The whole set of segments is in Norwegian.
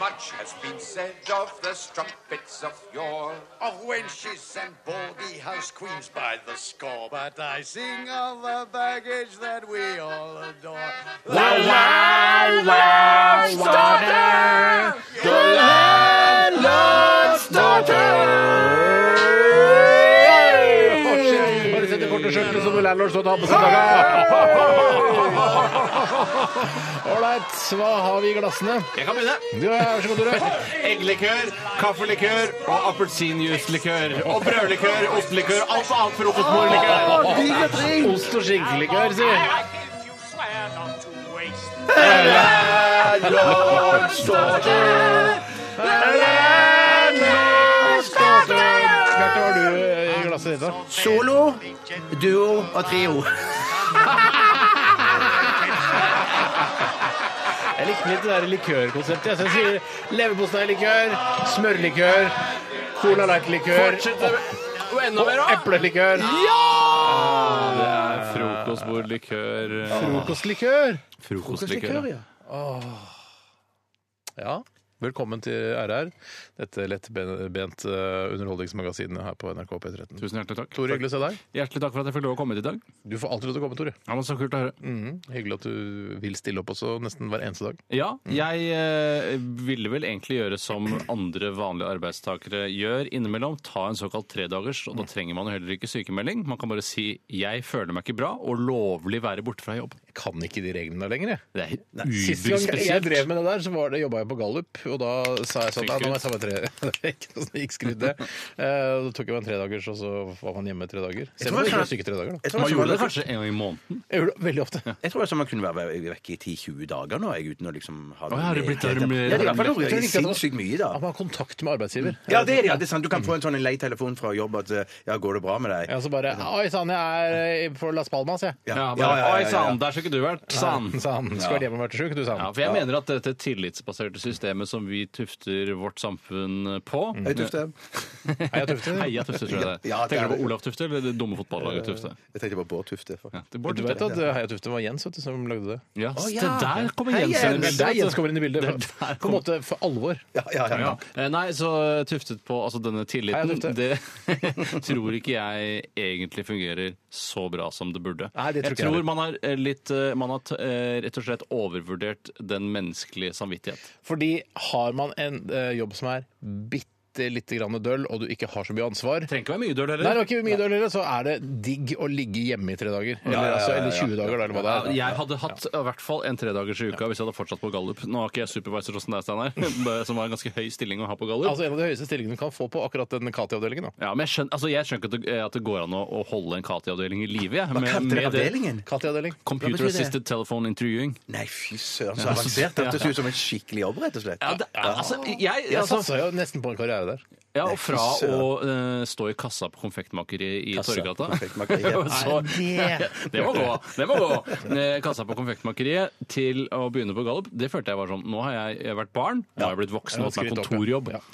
Much has been said of the strumpets of yore, of wenches and baldy house queens by the score. But I sing of the baggage that we all adore. Bare sett det korte skjørtet som landlord står og tar på seg klokka. Ålreit, hva har vi i glassene? Jeg kan begynne. Du, Vær så god, Tore. Eggelikør, kaffelikør og appelsinjuicelikør. Og brødlikør, ostelikør, alt annet frokostbordlikør. Ost og skinkelikør, si. Bjarte, hva har du eh, i glasset ditt, da? Solo, duo og trio. Jeg likte litt det der likørkonseptet. Jeg Så jeg sier leverposteilikør, smørlikør, cola light-likør Og enda og mer òg. eplelikør. Det er frokostbordlikør. Frokostlikør. Frokostlikør. ja. Ja. Velkommen til RR, dette lettbent eh, underholdningsmagasinet her på NRK P13. Tusen hjertelig takk. Tore, hyggelig å se deg. Hjertelig takk for at jeg fikk lov å komme hit i dag. Du får alltid lov til å komme, Tore. Det var så kult å høre. Hyggelig at du vil stille opp også nesten hver eneste dag. Ja, jeg eh, ville vel egentlig gjøre som andre vanlige arbeidstakere gjør innimellom. Ta en såkalt tredagers, og da trenger man jo heller ikke sykemelding. Man kan bare si 'jeg føler meg ikke bra', og lovlig være borte fra jobb. Jeg kan ikke de reglene der lenger, jeg. Det er Sist gang jeg uberspesielt. drev med det der, så var det, jobba jeg på Gallup, og da sa jeg sånn Fikk «Nei, Nå må jeg ta meg tre Det er ikke noe som gikk skrudd, det. Eh, Da tok jeg meg en tredagers, og så var man hjemme tre dager. Selv om jeg tror ikke jeg- var syk i tre dager, da. Jeg tror Man altså gjorde man, det kanskje en gang i måneden. Jeg gjorde det veldig ofte. jeg tror altså man kunne være vekke i 10-20 dager nå, jeg, uten å liksom ha Å, ja, har det blitt Ja, varmere- det er i hvert Jeg fall tror vært ikke at det var- sinnssykt mye, At da. man har kontakt med arbeidsgiver. Ja, det er det, ja, det er sant. Du kan få en sånn en lei telefon fra jobb at eh, ja, går det bra med deg? Ja, så bare "Ah, Oi sann, jeg er eh, for Las Palmas, jeg. Ja, Ja, ja, bare, ja, ja, Oi ja. sann, der skulle ikke du vært! Sann! Sa han. Skulle vært hjemme og vært sjuk, du, sa Ja, han. for jeg mener at dette tillitsbaserte systemet som vi tufter vårt samfunn på Hei, Tufte. Heia Tufte. Heia Tufte, tror jeg det. Ja, det er Tenker du det. på Olav Tufte eller det dumme fotballaget Tufte? Jeg tenkte bare Bård Tufte. faktisk. Ja, det er Bård Du Tufte. vet at eh, Heia Tufte var Jens vet du, som lagde det? Ja, Å, ja. det der kommer Hei, Jens inn i Jens. bildet. Det er Jens kommer inn i Det bildet. er der På en måte for alvor. Ja, ja, ja. Ja. Eh, Nei, så eh, tuftet på altså denne Heia, tilliten, Tufte. det tror ikke jeg egentlig fungerer så bra som det burde. Nei, det tror ikke jeg jeg heller. tror man har, eh, litt, eh, man har t- eh, rett og slett overvurdert den menneskelige samvittighet. Fordi har man en eh, jobb som er bitte lite grann døll, og du ikke har så mye ansvar Trenger ikke være mye døl Nei, det heller. var ikke mye døll heller, så er det digg å ligge hjemme i tre dager. Eller, altså, eller 20 dager, da, eller hva det er. Jeg hadde hatt i hvert fall en tredagers i uka hvis jeg hadde fortsatt på Gallup. Nå har ikke jeg supervisor sånn deg, Steinar, som var en ganske høy stilling å ha på Gallup. Altså En av de høyeste stillingene du kan få på akkurat den Kati-avdelingen. da. Ja, men jeg skjønner, altså jeg skjønner ikke at det, at det går an å, å holde en Kati-avdeling i live. jeg, med- Kalte med dere liksom? det- avdelingen? Kati-avdeling. Computer Assisted Telephone Interviewing. Nei, fy søren, så avansert. Det hørtes ut som en skikkelig jobb, rett og slett. Ja, det, altså, jeg, Jeg altså, satsa jo nesten på en karriere der. ja, og fra Fy å søren. eh, stå i kassa på konfektmakeriet i Kassa på Torgata Konfektmakeriet. og så- Det må gå! det må gå Eh, Kassa på konfektmakeriet til å begynne på gallup, det følte jeg var sånn Nå har jeg, jeg har vært barn, nå har jeg blitt voksen og hatt meg Skritt opp, ja. kontorjobb. Ja.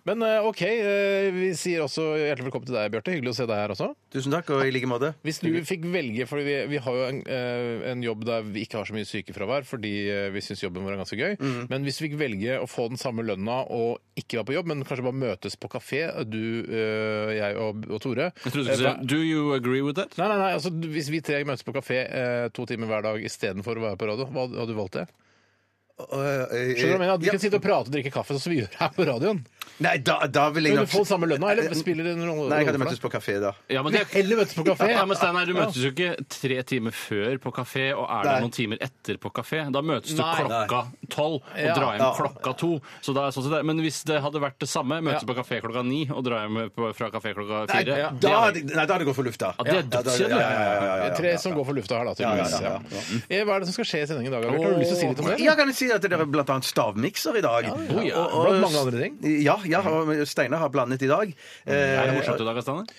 Men eh, OK, eh, vi sier også hjertelig velkommen til deg, Bjarte. Hyggelig å se deg her også. Tusen takk, og i like måte. Hvis du fikk velge, for vi, vi har jo en, eh, en jobb der vi ikke har så mye sykefravær fordi eh, vi syns jobben vår er ganske gøy, Mhm. men hvis du fikk velge å få den samme lønna og ikke være på jobb, men kanskje bare møtes på kafé, du, eh, jeg og, og Tore Jeg trodde du Eh, skulle si Do you agree with that? Nei, nei, nei, altså Hvis vi tre møtes på kafé eh, to timer hver dag istedenfor å være på radio, hva hadde du valgt det? eh, Skjønner du hva jeg mener? Eh, At Vi kan sitte og prate og drikke kaffe sånn som vi gjør her på radioen. Nei, da, da vil jeg Men nok du får samme lønna, Eh, eller spiller det noen Nei, jeg rolle hadde for møttes deg? på kafé da. Ja, men det- Eller møtes på kafé? Ja, men Steinar, du møtes jo ikke tre timer før på kafé, og er det noen timer etter på kafé. Da møtes du Nei. klokka tolv og Ja. drar hjem Ja. klokka to. Så da er det sånn som det er. Men hvis det hadde vært det samme, møtes Ja. på kafé klokka ni og drar hjem på- fra kafé klokka Nei, fire ja. det da er- hadde nei, da hadde jeg gått for lufta. Ja, det er da- dødskjedelig. Ja, ja, ja, ja, ja, Tre ja. som går for lufta her, da. tydeligvis. Ja, ja, ja, Ja. Eh, Hva er det som skal skje i sendingen i dag? Bjarte? Har du lyst til å si litt om det? Ja, kan jeg si at det er blant annet stavmikser i dag. Oi, ja. Blant Oh, mange andre ting. Ja, ja og Steinar har blandet i dag. Er det Eh, morsomt i dag, Steinar?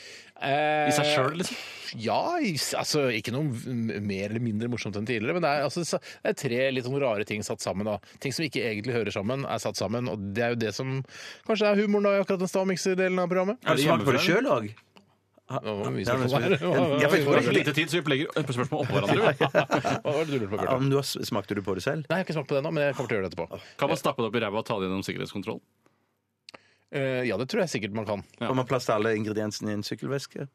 I seg sjøl, liksom? Eh, Ja, i- altså ikke noe m- mer eller mindre morsomt enn tidligere, men det er, altså, det er tre litt sånn rare ting satt sammen. da. Ting som ikke egentlig hører sammen, er satt sammen, og det er jo det som kanskje er humoren da i akkurat den stavmikser-delen av programmet. Har du smakt på det sjøl òg? Det var mye Ja, men- spørsmål her. Ja, for jeg Vi tror har så lite tid, så vi legger på spørsmål oppå hverandre. vi. Hva var det du lurte på, Bjørte? Om du har, smakte du på det selv? Nei, jeg har ikke smakt på det ennå, men jeg kommer til å gjøre det etterpå. Kan man stappe det opp i ræva og ta det gjennom sikkerhetskontroll? Eh, ja, det tror jeg sikkert man kan. Ja. Får man plass til alle ingrediensene i en sykkelveske?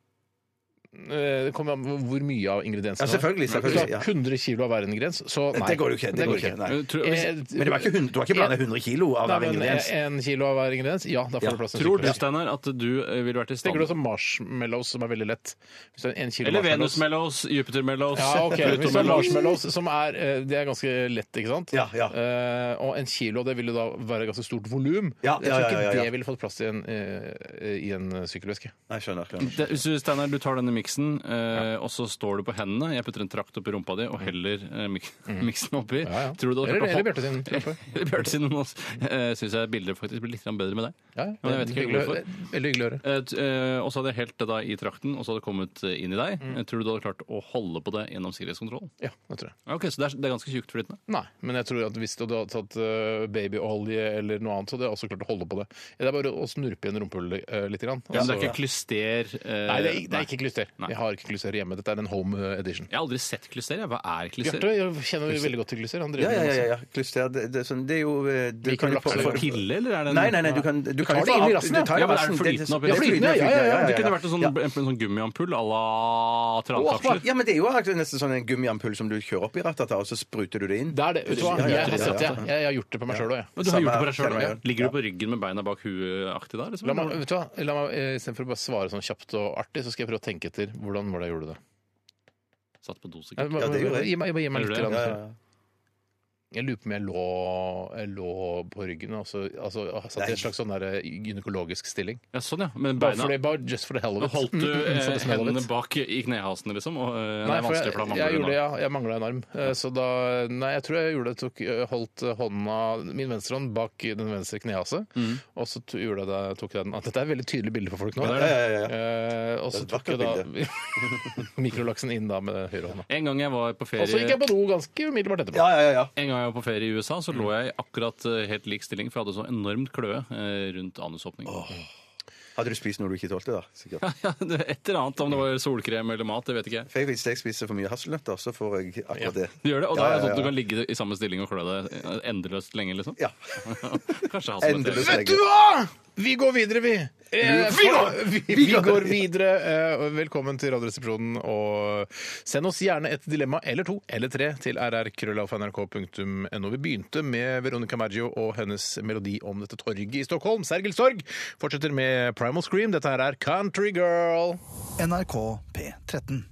Eh, det kommer an på hvor mye av ingrediensene Ja, selvfølgelig, Hvis du selvfølgelig, ja. har 100 kilo av hver ingrediens, så nei. Det går jo ikke. Det går ikke. Nei. Men tror- hvis- Eh, Men det var ikke hund- du har ikke blanda 100 kilo av hver Nei, men eh, e- ingrediens? En kilo av hver ingrediens? Ja, da får Ja. du plass til Tror sykkelveske. du, Steinar, at du eh, ville vært i stand Tenker du også marshmallows, som er veldig lett? Hvis det er en kilo Eller marshmallows. Venus-mellows, Jupiter-mellows, Ja, ok. Hvis det er Pluto-mellows. marshmallows, som er eh, Det er ganske lett, ikke sant? Ja, ja. Eh, og en kilo, det vil jo da være ganske stort volum. Ja, jeg ja, tror ja, ikke ja, ja. det ville fått plass i en, eh, i en sykkelveske. Nei, skjønner. skjønner. Det- Hvis du, Steinar, du tar denne miksen, eh, og så står du på hendene. Jeg putter en trakt oppi rumpa di og heller eh, mik miksen oppi. Mm. Ja, ja. Tror du det Eller, eller Bjarte sin. tror jeg på. Eller Bjarte sin. Nå syns jeg bildet faktisk blir litt grann bedre med deg. Ja, Men jeg vet ikke helt hvorfor. Veldig- Veldig hyggelig å høre. Eh, t- eh, Og så hadde jeg helt det da i trakten, og så hadde det kommet eh, inn i deg. Mm. Eh, Tror du du hadde klart å holde på det gjennom sikkerhetskontrollen? Ja, det tror jeg. Ja, Ok, Så det er, det er ganske tjukt flytende. Nei, men jeg tror at hvis du hadde tatt eh, babyolje eller noe annet, så hadde jeg også klart å holde på det. Det er bare å snurpe igjen rumpehullet eh, litt. Grann, Men og det så- er ikke klyster eh, Nei, det er, det er ikke klyster. Nei. Jeg har ikke klyster hjemme. Dette er en home eh, edition. Jeg har aldri sett klyster. jeg. Hva er klyster? Bjarte jeg kjenner jo veldig godt til klyster. Han Ja, driver ja, med ja. masse. ja, ja. Klyster, det, det, er sånn, det er jo eh, du Liker kan jo du laks, få- Er det en få- pille, eller er det en Nei, nei, nei, du kan du kan tar jo det få inn i alt- rassen, du ja. tar Ja, jo men er den rassen. Det- det- flytende oppi ja, der? Ja, flytende, ja, ja, flytende, ja. Det kunne vært en sånn, Ja. en sånn gummiampull à la transaksjer. Ja, men det er jo akkurat nesten sånn en gummiampull som du kjører opp i rattet, og så spruter du det inn. Det er det. Vet du hva? Ja, ja, ja, Jeg har sett det. ja, ja. Jeg, jeg har gjort det på meg sjøl òg, jeg. Men Du har gjort Samme- det på deg selv, samme ja. gjør. Ligger du på ryggen med beina bak huet-aktig da? Liksom? La meg, vet du hva? La meg, eh, Istedenfor å bare svare sånn kjapt og artig, så skal jeg prøve å tenke etter hvordan var det jeg gjorde det. Satt på do, Jeg, sikkert. bare- Ja, det gjorde jeg. gi meg, gi meg litt. Gjorde du det? grann. Ja, ja, ja. Jeg lurer på om jeg lå, jeg lå på ryggen og så altså, jeg satt i en slags sånn der eh, gynekologisk stilling. Ja, sånn, ja. Men Bare, beina for det, bare just for the hell of Nå it. Holdt Mm, du mm, for eh, the smell of it. hendene bak i knehasene, liksom? Og, eh, Nei, det er for jeg, vanskelig, for da jeg, gjorde, mangler du det, da. ja, jeg mangla en arm. Eh, Så da Nei, jeg tror jeg gjorde det. Tok, eh, holdt eh, hånda, min venstre hånd bak den venstre knehaset. Mm. Og så to- gjorde jeg det, tok jeg den ah, Dette er et veldig tydelig bilde for folk nå. Ja, ja, ja, ja. Eh, og så Det er et tok jeg da mikrolaksen inn da med høyrehånda. En gang jeg var på Og så ferie gikk jeg på do ganske umiddelbart etterpå. Ja, ja, ja, ja. en gang jeg var på ferie i USA, så lå jeg i akkurat eh, helt lik stilling, for jeg hadde så enormt kløe eh, rundt anusåpningen. Hadde du spist noe du ikke tålte, da? Sikkert. Ja, det- Et eller annet, om det var solkrem eller mat, det vet ikke jeg. For jeg, hvis jeg spiser for mye hasselnøtter, så får jeg akkurat det. Du gjør det, og da er Ja, det ja, sånn at du ja. kan ligge i samme stilling og klø deg eh, endeløst lenge, liksom? Ja. Kanskje ha sånn et- Endeløst Vet lenge. du hva! Vi går videre, vi! Eh, Vi går- vi, vi, går videre. Eh, og velkommen til Radioresepsjonen. Og send oss gjerne et dilemma eller to eller tre til rrkrøllalfa.nrk.no. Vi begynte med Veronica Maggio og hennes melodi om dette torget i Stockholm, Sergels torg. Fortsetter med Primal Scream. Dette her er Country Girl. NRK P13.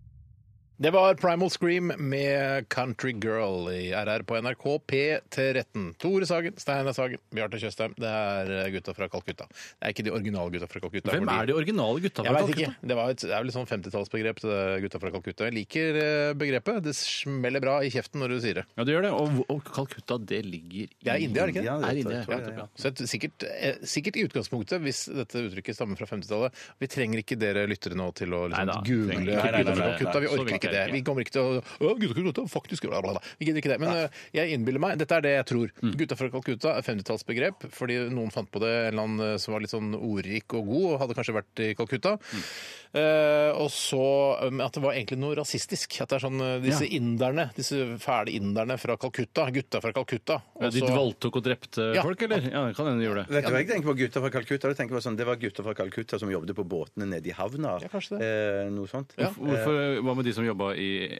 Det var Primal Scream med Country Girl i RR på NRK P13. Tore Sagen, Steinar Sagen, Bjarte Tjøstheim. Det er gutta fra Calcutta. Det er ikke de originale gutta fra Calcutta. Hvem fordi- er de originale gutta? Jeg vet ikke. Det, var et, det er vel et sånn 50-tallsbegrep, det der gutta fra Calcutta. Jeg liker eh, begrepet. Det smeller bra i kjeften når du sier det. Ja, det gjør det. Og, og Calcutta, det ligger i Det er India, er det ikke det? Ja, Er det India, tror ja, jeg, nettopp, ja. Så et, sikkert, eh, sikkert i utgangspunktet, hvis dette uttrykket stammer fra 50-tallet Vi trenger ikke dere lyttere nå til å liksom, Neida, google trenger ikke. gutta Nei, nei, nei, fra nei, nei. Calcutta. Vi Så orker viktig ikke det. er det ikke. Vi kommer ikke til å «Å, Gutta fra Calcutta, faktisk bla, bla, bla. Vi gidder ikke det. Men eh, jeg innbiller meg Dette er det jeg tror. Mm. Gutta fra Calcutta er 50-tallsbegrep fordi noen fant på det, en eller annen eh, som var litt sånn ordrik og god, og hadde kanskje vært i Calcutta. Mm. Eh, og så um, at det var egentlig noe rasistisk. At det er sånn eh, disse inderne, disse fæle inderne fra Calcutta, gutta fra Calcutta. Ja, De og så- voldtok og drepte Ja. folk, eller? Ja, det kan hende de gjorde det. Vet du hva jeg tenker på gutter fra Calcutta? Jeg tenker på sånn, det var gutter fra Calcutta som jobbet på båtene nede i havna. Ja, kanskje det. Eh, noe sånt. Ja. Hvorfor, hva med de som jobba i,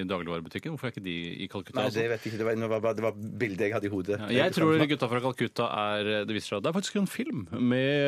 i dagligvarebutikken? Hvorfor er ikke de i Calcutta? Nei, også? det vet jeg ikke. Det var, det var, bare- det var bildet jeg hadde i hodet. Ja, jeg tror gutta fra Calcutta er Det viser seg at det er faktisk en film med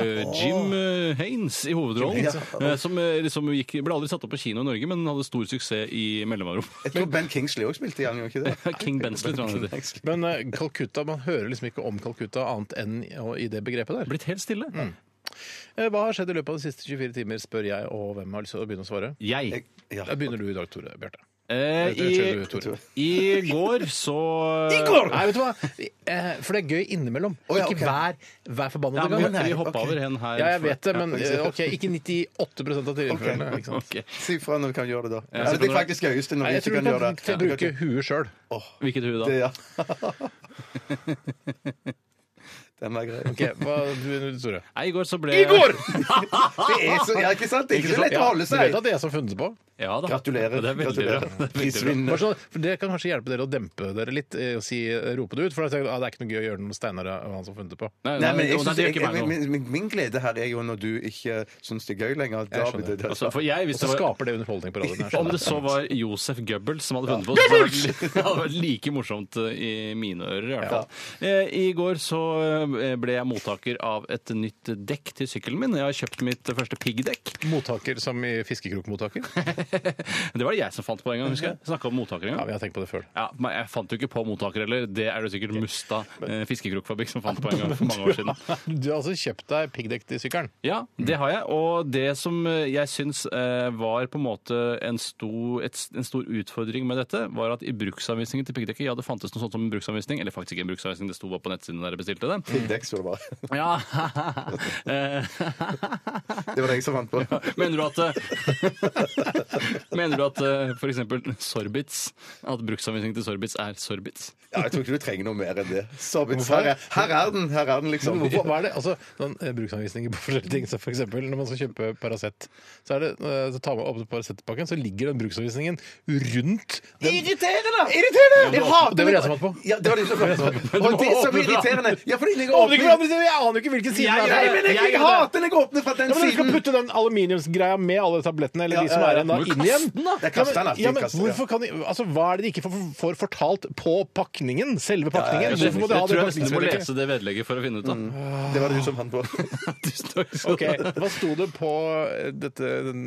eh, Jim eh, Haynes i hovedrollen. Jim Haynes, ja. eh, Som eh, liksom gikk, ble aldri satt opp på kino i Norge, men hadde stor suksess i mellomrom. Jeg tror Ben Kingsley òg spilte i gang, gjorde ikke det? King Bensley, tror jeg han heter. Men eh, Calcutta, man hører liksom ikke om Calcutta annet enn i- og i det begrepet der. Blitt helt stille. Eh, Hva har skjedd i løpet av de siste 24 timer, spør jeg, og hvem har lyst til å begynne å svare? Jeg. Ja. Da begynner du i dag, Tore Bjarte. Eh, Det skjer du, i, Tore. I går så Nei, vet du hva? Vi- eh, For det er gøy innimellom. Å, ja, Ikke ok. hver, hver forbannede Ja, men gang. vi hoppa ok. over hen her. Ja, jeg vet det, men Ja, eh, ok, ikke 98 av tilfellene. ikke sant? Ok. Si fra når vi kan gjøre det, da. Altså, Ja, det er faktisk gøyeste Nei, når vi jeg ikke tror kan du gjøre kan det. til å bruke huet sjøl. Hvilket hue da? det ja. Den var grei. Ok, hva du, Tore? Nei, I går så ble Det er så, ja, ikke sant? Det er ikke så lett å Ja, holde Du vet seg. at det er jeg som har funnet det på? Ja da. Gratulerer. Det er veldig bra. Det Gratulerer. er veldig bra. Prisvinner. Bare sånn, for Det kan kanskje hjelpe dere å dempe dere litt eh, og si, rope det ut. For da tenker jeg, ah, det er ikke noe gøy å gjøre det med Steinar og han som har funnet det på. Nei, Nei, men nei, jeg nei, synes, det gjør jeg, ikke meg noe. min, min, min glede her er jo når du ikke syns det er gøy lenger. Da Jeg skjønner. blir det- Altså, for jeg, Og hvis så det var skaper det underholdning på radioen. jeg skjønner. Om det så var Josef Goebbels som hadde funnet på det, så hadde det, det hadde vært like morsomt eh, i mine ører. I, hvert fall. Eh, I går så eh, ble jeg mottaker av et nytt dekk til sykkelen min. Jeg har kjøpt mitt første piggdekk. Mottaker som i fiskekrokmottaker? Det var det jeg som fant på en gang, husker jeg. jeg. Snakka om mottaker Ja, en gang. vi har tenkt på det før. Ja, men Jeg fant jo ikke på mottaker heller. Det er det sikkert Musta eh, fiskekrokfabrikk som fant på en gang for mange år siden. Du har altså kjøpt deg piggdekk til sykkelen. Ja, det har jeg. Og det som eh, jeg syns eh, var på en måte en stor, et, en stor utfordring med dette, var at i bruksanvisningen til piggdekket Ja, det fantes noe sånt som en bruksanvisning, eller faktisk ikke en bruksanvisning, det sto bare på nettsiden der jeg bestilte det. Piggdekk, så sånn det var. Ja, Eh, Det var det jeg som fant på. Mener du at eh, Mener du at f.eks. Sorbitz At bruksanvisningen til Sorbitz er Sorbitz? Ja, jeg tror ikke du trenger noe mer enn det. Sorbitz, her, er- her er den, her er den, liksom. Men hvorfor, hva er det? Altså, noen eh, bruksanvisninger på forskjellige ting. Så for eksempel, når man skal kjøpe Paracet, så, er det, eh, så tar man opp Paracet-pakken, så ligger den bruksanvisningen rundt den. Irriterende! Irriterende! Jeg hater det var jeg som hadde på. Ja, det var det som hadde på. Du må Og det åpne som er for andre. irriterende Ja, for det ligger Åpner ikke åpning. for andre siden, Jeg aner jo ikke hvilken side Jeg det Nei, er. gjør men jeg, jeg hater når jeg åpner fra den Ja, men du skal siden. putte den aluminiumsgreia med alle tablettene eller Ja, de som ja, er ja. igjen, da, Må du inn igjen. kaste den, da? Ja, Jeg kaster den, men- alltid ja, men kaster den, ja. hvorfor kan de- altså, Hva er det de ikke får, får fortalt på pakningen? Selve pakningen? Jeg, Hvorfor må de ha tror det jeg nesten du må pakningsvedlegget? lese det vedlegget for å finne ut av. Det var det du som fant på. Tusen takk skal Ok, du ha. Hva sto det på eh, dette, den,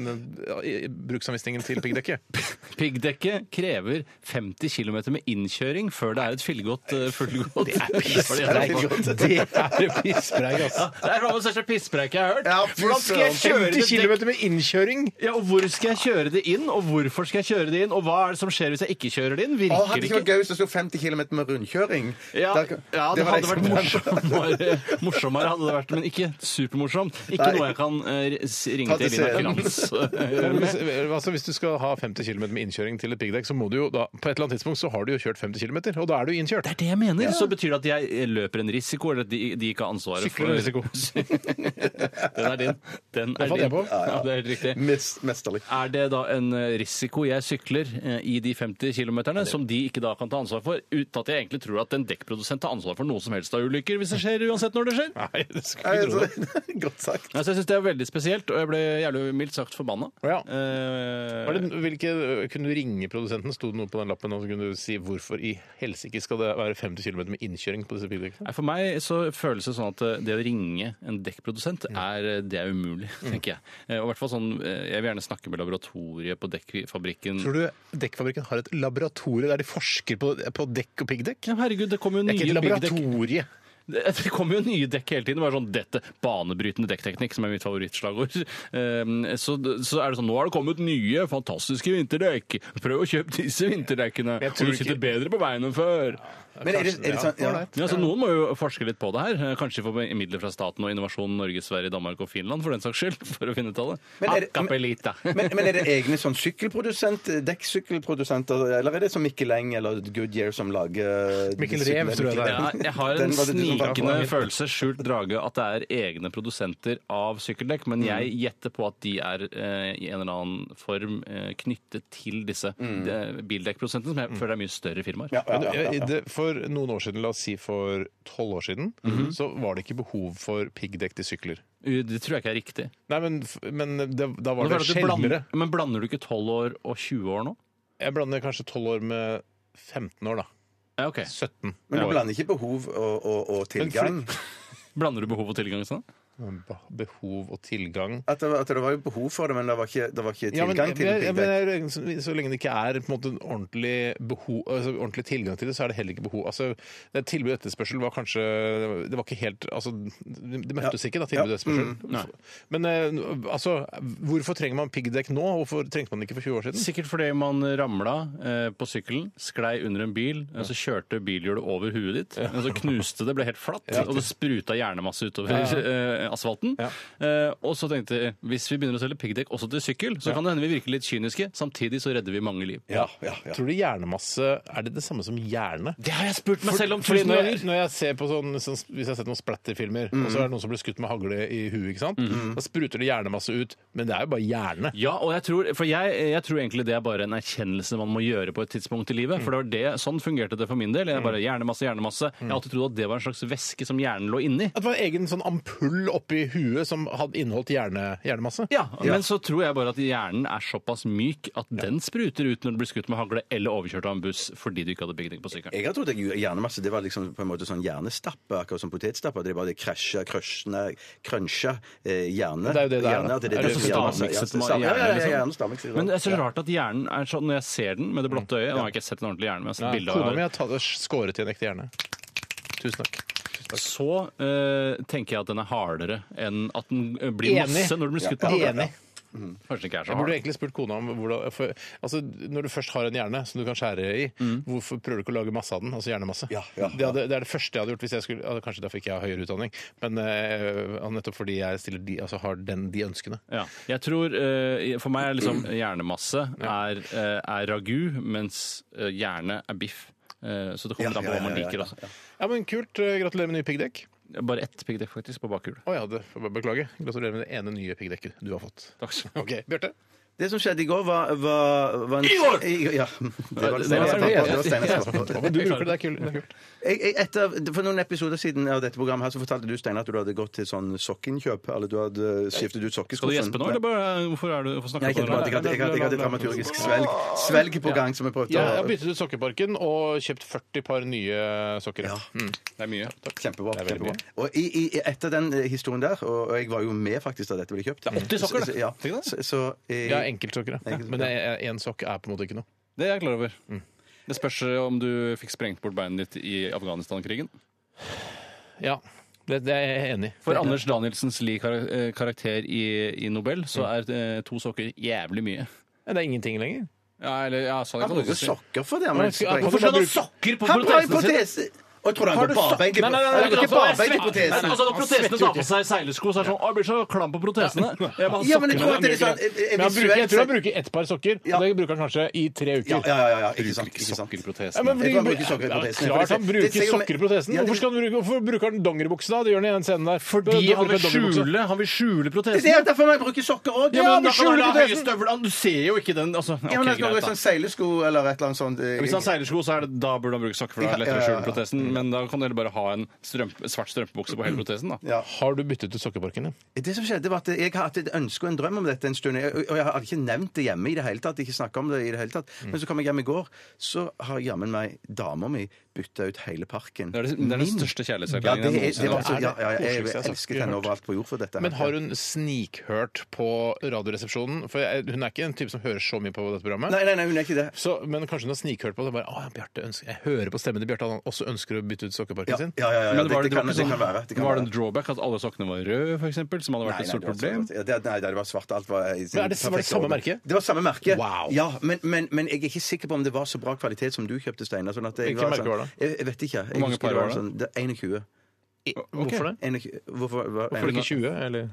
ja, i- bruksanvisningen til piggdekket? Piggdekket krever 50 km med innkjøring før det er et fullgodt eh, fullgodt. Det er pisspreik. Det er pisspreik, altså. Det er noe av det største pisspreik jeg har hørt. Ja, fy Hvordan skal jeg kjøre 50 det dekk- km med innkjøring? Ja, og hvor skal jeg kjøre det inn, og hvorfor skal jeg kjøre det inn, og hva er det som skjer hvis jeg ikke kjører det inn? Å, Virker hadde det det ikke vært ikke? gøy hvis det sto 50 km med rundkjøring? Ja, Der- ja, det var hadde jeg vært som- morsommere, morsommere hadde det vært, men ikke supermorsomt. Ikke Nei. noe jeg kan eh, s- ringe Ta til til Elina scenen. Krantz Ja, eh, men med. Hvis, altså, hvis du skal ha 50 km med innkjøring til et piggdekk, så må du jo da, på et eller annet tidspunkt så har du jo kjørt 50 km, og da er du innkjørt. Det er det jeg mener. Så betyr det at jeg eh, løper en risiko, eller at de, de ikke har ansvaret Sykler en risiko. Den er din. Den er fant din. jeg på. Ja, det er helt riktig. Mes- Mesterlig. Er det da en eh, risiko jeg sykler eh, i de 50 kilometerne, som de ikke da kan ta ansvar for, uten at jeg egentlig tror at en dekkprodusent tar ansvar for noe som helst av ulykker, hvis det skjer, uansett når det skjer? Nei, altså, det Ja, skal jeg jeg tro. tror- Altså, Godt sagt. Altså, jeg syns det er veldig spesielt, og jeg ble jævlig mildt sagt forbanna. Ja. Eh, Var det, hvilke, kunne du ringe produsenten? Sto det noe på den lappen? Og så kunne du si hvorfor i helsike skal det være 50 km med innkjøring på disse piggdekkene? Nei, For meg så føles det sånn at eh, det å ringe en dekkprodusent, er, eh, det er umulig, Mm. tenker jeg. Eh, Og i hvert fall sånn, eh, Jeg vil gjerne snakke med laboratoriet på dekkfabrikken. Tror du dekkfabrikken har et laboratorie der de forsker på, på dekk og piggdekk? Ja, herregud, det kommer jo Det er ikke et nye piggdekk. laboratorie. Det det kommer jo nye dekk hele tiden. Bare sånn dette, Banebrytende dekkteknikk, som er mitt favorittslagord. Um, Så, så er det sånn Nå har det kommet nye, fantastiske vinterdekk. Prøv å kjøpe disse vinterdekkene. Jeg tror Og du sitter ikke- bedre på beina enn før. Men er det, er det sånn ja. Ja, så Noen må jo forske litt på det her. Eh, Kanskje få midler fra staten og Innovasjon Norge, Sverige, Danmark og Finland for den saks skyld. For å finne ut av det. Men er det- Acapelita. Men, men er det egne sånn sykkelprodusent, dekksykkelprodusenter, eller er det som Mikkel Eng eller Goodyear som lager Mikkel Rev, tror jeg det er. Ja, jeg har en Den var det du som fant på. snikende følelse, skjult drage, at det er egne produsenter av sykkeldekk, men jeg Mm. gjetter på at de er eh, i en eller annen form eh, knyttet til disse eh, bildekkprodusentene, som jeg føler er mye større firmaer. Mm. Ja, ja, Men ja, ja. eh, det, for noen år siden, la oss si for tolv år siden, så var det ikke behov for piggdekk til sykler. U- Det tror jeg ikke er riktig. Nei, men, f- men det, da var Men det hva er det du blander, sjeldnere. men blander du ikke 12 år og 20 år nå? Jeg blander kanskje tolv år med 15 år, da. Ja, ok. 17. Men du år. blander ikke behov og, og, og tilgang? Blander du behov og tilgang sånn? Mm. Behov og tilgang. At det, var- at det var jo behov for det, men det var ikke, det var ikke Ja, tilgang men, til jeg, Big jeg, Bang. men så, så lenge det ikke er på en måte en ordentlig, behov, altså, ordentlig tilgang til det, så er det heller ikke behov. Altså, det Tilbud og etterspørsel var kanskje Det var ikke helt Altså, det det møttes ikke, da, tilbud og etterspørsel. Mm. Men eh, altså, hvorfor trenger man piggdekk nå? Hvorfor trengte man det ikke for 20 år siden? Sikkert fordi man ramla eh, på sykkelen, sklei under en bil, og så kjørte bilhjulet over huet ditt. Og så knuste det, ble helt flatt, og det spruta hjernemasse utover eh, asfalten. Eh, og så tenkte jeg hvis vi begynner å selge piggdekk også til sykkel, så kan det hende vi virker litt kyniske. Samtidig så redder vi mange liv. Ja, ja, ja. Tror du hjernemasse Er det det samme som hjerne? Det har jeg spurt meg selv om Fordi tusen når jeg, ganger! når jeg ser på sånn, sånn, Hvis jeg har sett noen splatterfilmer, og Mm. så er det noen som blir skutt med hagle i huet, ikke sant? da spruter det hjernemasse ut. Men det er jo bare hjerne. Ja, og jeg tror, for jeg, jeg tror egentlig det er bare en erkjennelse man må gjøre på et tidspunkt i livet. For det var det, sånn fungerte det for min del. Jeg bare Hjernemasse, hjernemasse. Jeg har alltid trodd at det var en slags væske som hjernen lå inni. At det var en egen sånn ampull oppi huet som hadde inneholdt hjerne, hjernemasse. Ja, men så tror jeg bare at hjernen er såpass myk at den spruter ut når du blir skutt med hagle eller overkjørt av en buss fordi du ikke hadde piggdekk på sykkelen. Jeg har trodd at hjernemasse det var liksom på en måte sånn hjernestappe, akkurat som potetstappe. at Det bare krasja, krøsjna, krønsja eh, hjerne. Det er jo det det er, Hjerne, da. at det er. Er det det som sånn hjernemasse- stavmikset ja, med stav- ja, ja, hjerne, ja, liksom? ja, stavmikset, Men det ja. er så rart at hjernen er sånn Når jeg ser den med det blotte øyet Nå har jeg ikke sett en ordentlig hjerne, men jeg har sett bilde Kona av mi det. har tatt- skåret i en ekte hjerne. Tusen takk. Så eh, tenker jeg at den er hardere enn at den eh, blir Enig. masse når du blir skutt på hagle. Enig. Kanskje den ikke er Jeg så burde hard. egentlig spurt kona om hvordan for, altså, Når du først har en hjerne som du kan skjære i, hvorfor prøver du ikke å lage masse av den? Altså hjernemasse. Ja, ja, Det, hadde, det er det første jeg hadde gjort hvis jeg skulle ja, Kanskje derfor ikke jeg har høyere utdanning, men eh, nettopp fordi jeg stiller de, altså, har den, de ønskene. Ja. Jeg tror, eh, For meg er liksom hjernemasse er, eh, er ragu, mens eh, hjerne er biff. Eh, så det kommer Ja, an på hva ja, man ja, ja, liker. ja, Altså. Ja, men Kult. eh, Gratulerer med nye piggdekk. Bare ett piggdekk faktisk på bakhjulet. Å ja, det, beklager. Gratulerer med det ene nye piggdekket du har fått. Takk skal du ha. Ok, Bjarte. Det som skjedde i går, var, var, var en, I går! Ja. Det var det Steinar som fant på. Det var Steinar som fant på. Men du bruker det, det er kult. Det er kult. Jeg, jeg, etter, for noen episoder siden av dette programmet her, så fortalte du Steinar at du hadde gått til sånn sokkinnkjøp. Eller du hadde skiftet ut sokkeskuffen. Skal du gjespe nå, eller bare, hvorfor er du, hvorfor snakker Nei, ikke du det, jeg hadde, jeg hadde, jeg hadde dramaturgisk svelg, svelg på gang, som jeg prøvde Ja, jeg har å byttet ut sokkeparken og kjøpt 40 par nye sokker. Ja. Mm. Det er mye. Kjempebra. Det er veldig kjempebra. Og i, i, etter den eh, historien der, og, og jeg var jo med faktisk da dette ble kjøpt 80 sokker, Så- det. så- Ja. Tenk Så, så, eh, Jeg har enkeltsokker, ja. Enkelt- men én sokk er på en måte ikke noe. Det er jeg klar over. Mm. Det spørs eh, om du fikk sprengt bort beinet ditt i Afghanistan-krigen. Ja, det, det er jeg enig i. For Anders Danielsens li kar- eh, karakter i, i Nobel, så Mm. er eh, to sokker jævlig mye. Ja, Det er ingenting lenger. Ja, eller, ja, sånn Han kan du bruker ikke si. sokker for det. Men Men skal- sprenger- hvorfor skal han ha sokker på Han har jo protesene sine? protese! Og tror du han Har går du barbeint Nei, i nei, nei, Han nei, bruker altså, jeg barbeint i protesen! Men, altså, når protesene tar på seg seilersko, så er det sånn Å, jeg blir så klam på protesene. Jeg må ha Ja, men sokker. jeg tror at det er sånn eh, eh, Men han bruker, jeg tror han visuelt sett- bruker ett par sokker, Ja. og det bruker han kanskje i tre ja, uker. ja, ja, ja, ikke sant. Ikke sant. Ja, Sokkerprotesene. men fordi- Jeg tror han bruker Ja, sokker i protesen. Klart han Det ser bruker jo- sokker i protesen. Ja, det- Hvorfor, skal han bruke, hvorfor bruker han dongeribukse da? Det gjør han i den scenen der. Fordi Da- da han vil bruker dongeribukse. skjule, han vil skjule Det er protesene. derfor man bruker sokker òg. Ja, men han da kan han skjuler ha høye protesen. støvler. Han- Du ser jo ikke den. Altså, ok, Ja, men det greit, er da. sånn seilesko eller et eller annet sånt. eh, Hvis han har seilersko, så er det, da burde han bruke sokker. for da er det lettere å Ja, ja, ja, skjule ja. protesen. Men da kan du heller bare ha en strømpe, svart strømpebukse på hele protesen. da. Ja. Har du byttet ut sokkeparken din? Det som skjedde var at Jeg har hatt et ønske og en drøm om dette en stund. jeg- Og jeg har ikke nevnt det hjemme i det hele tatt. ikke snakket om det i det hele tatt. Mm. Men så kom jeg hjem i går, så har jammen meg dama mi bytta ut hele parken. Det er, det, det er den Min. største ja, det, kjærlighetserklæringen jeg er- noensinne det var har. altså. så, ja, ja, jeg, koseligste jeg har elsket hørt. henne overalt på jord for dette. her. Men har hun snikhørt på Radioresepsjonen? For jeg, hun er ikke en type som hører så mye på dette programmet. Nei, nei, nei, hun er ikke det. Så, men kanskje hun har snikhørt på det. og Bare, «Å, Bjarte ønsker, jeg hører på stemmen til Bjarte, han også ønsker å bytte ut sokkeparken Ja, sin. ja, ja, ja, Men det, var det, det, kan, det, det kan var, være. ikke Det sånn- kan var det være. en drawback at alle sokkene var røde, for eksempel, som hadde vært et Nei, nei, stort det var problem? svart. Ja, det, nei, det var svart. Alt var i sin Men er det- var det perfekte samme orden. merke? Det var samme merke. Wow. Ja, men, men, men jeg er ikke sikker på om det var så bra kvalitet som du kjøpte, Steinar. Sånn at jeg Hvilke merker sånn, var det? Jeg, jeg vet ikke. Jeg Hvor mange husker par var det? Sånn, det er 21. Hvorfor det? 21 hvorfor, var, Hvorfor ikke 20? Eller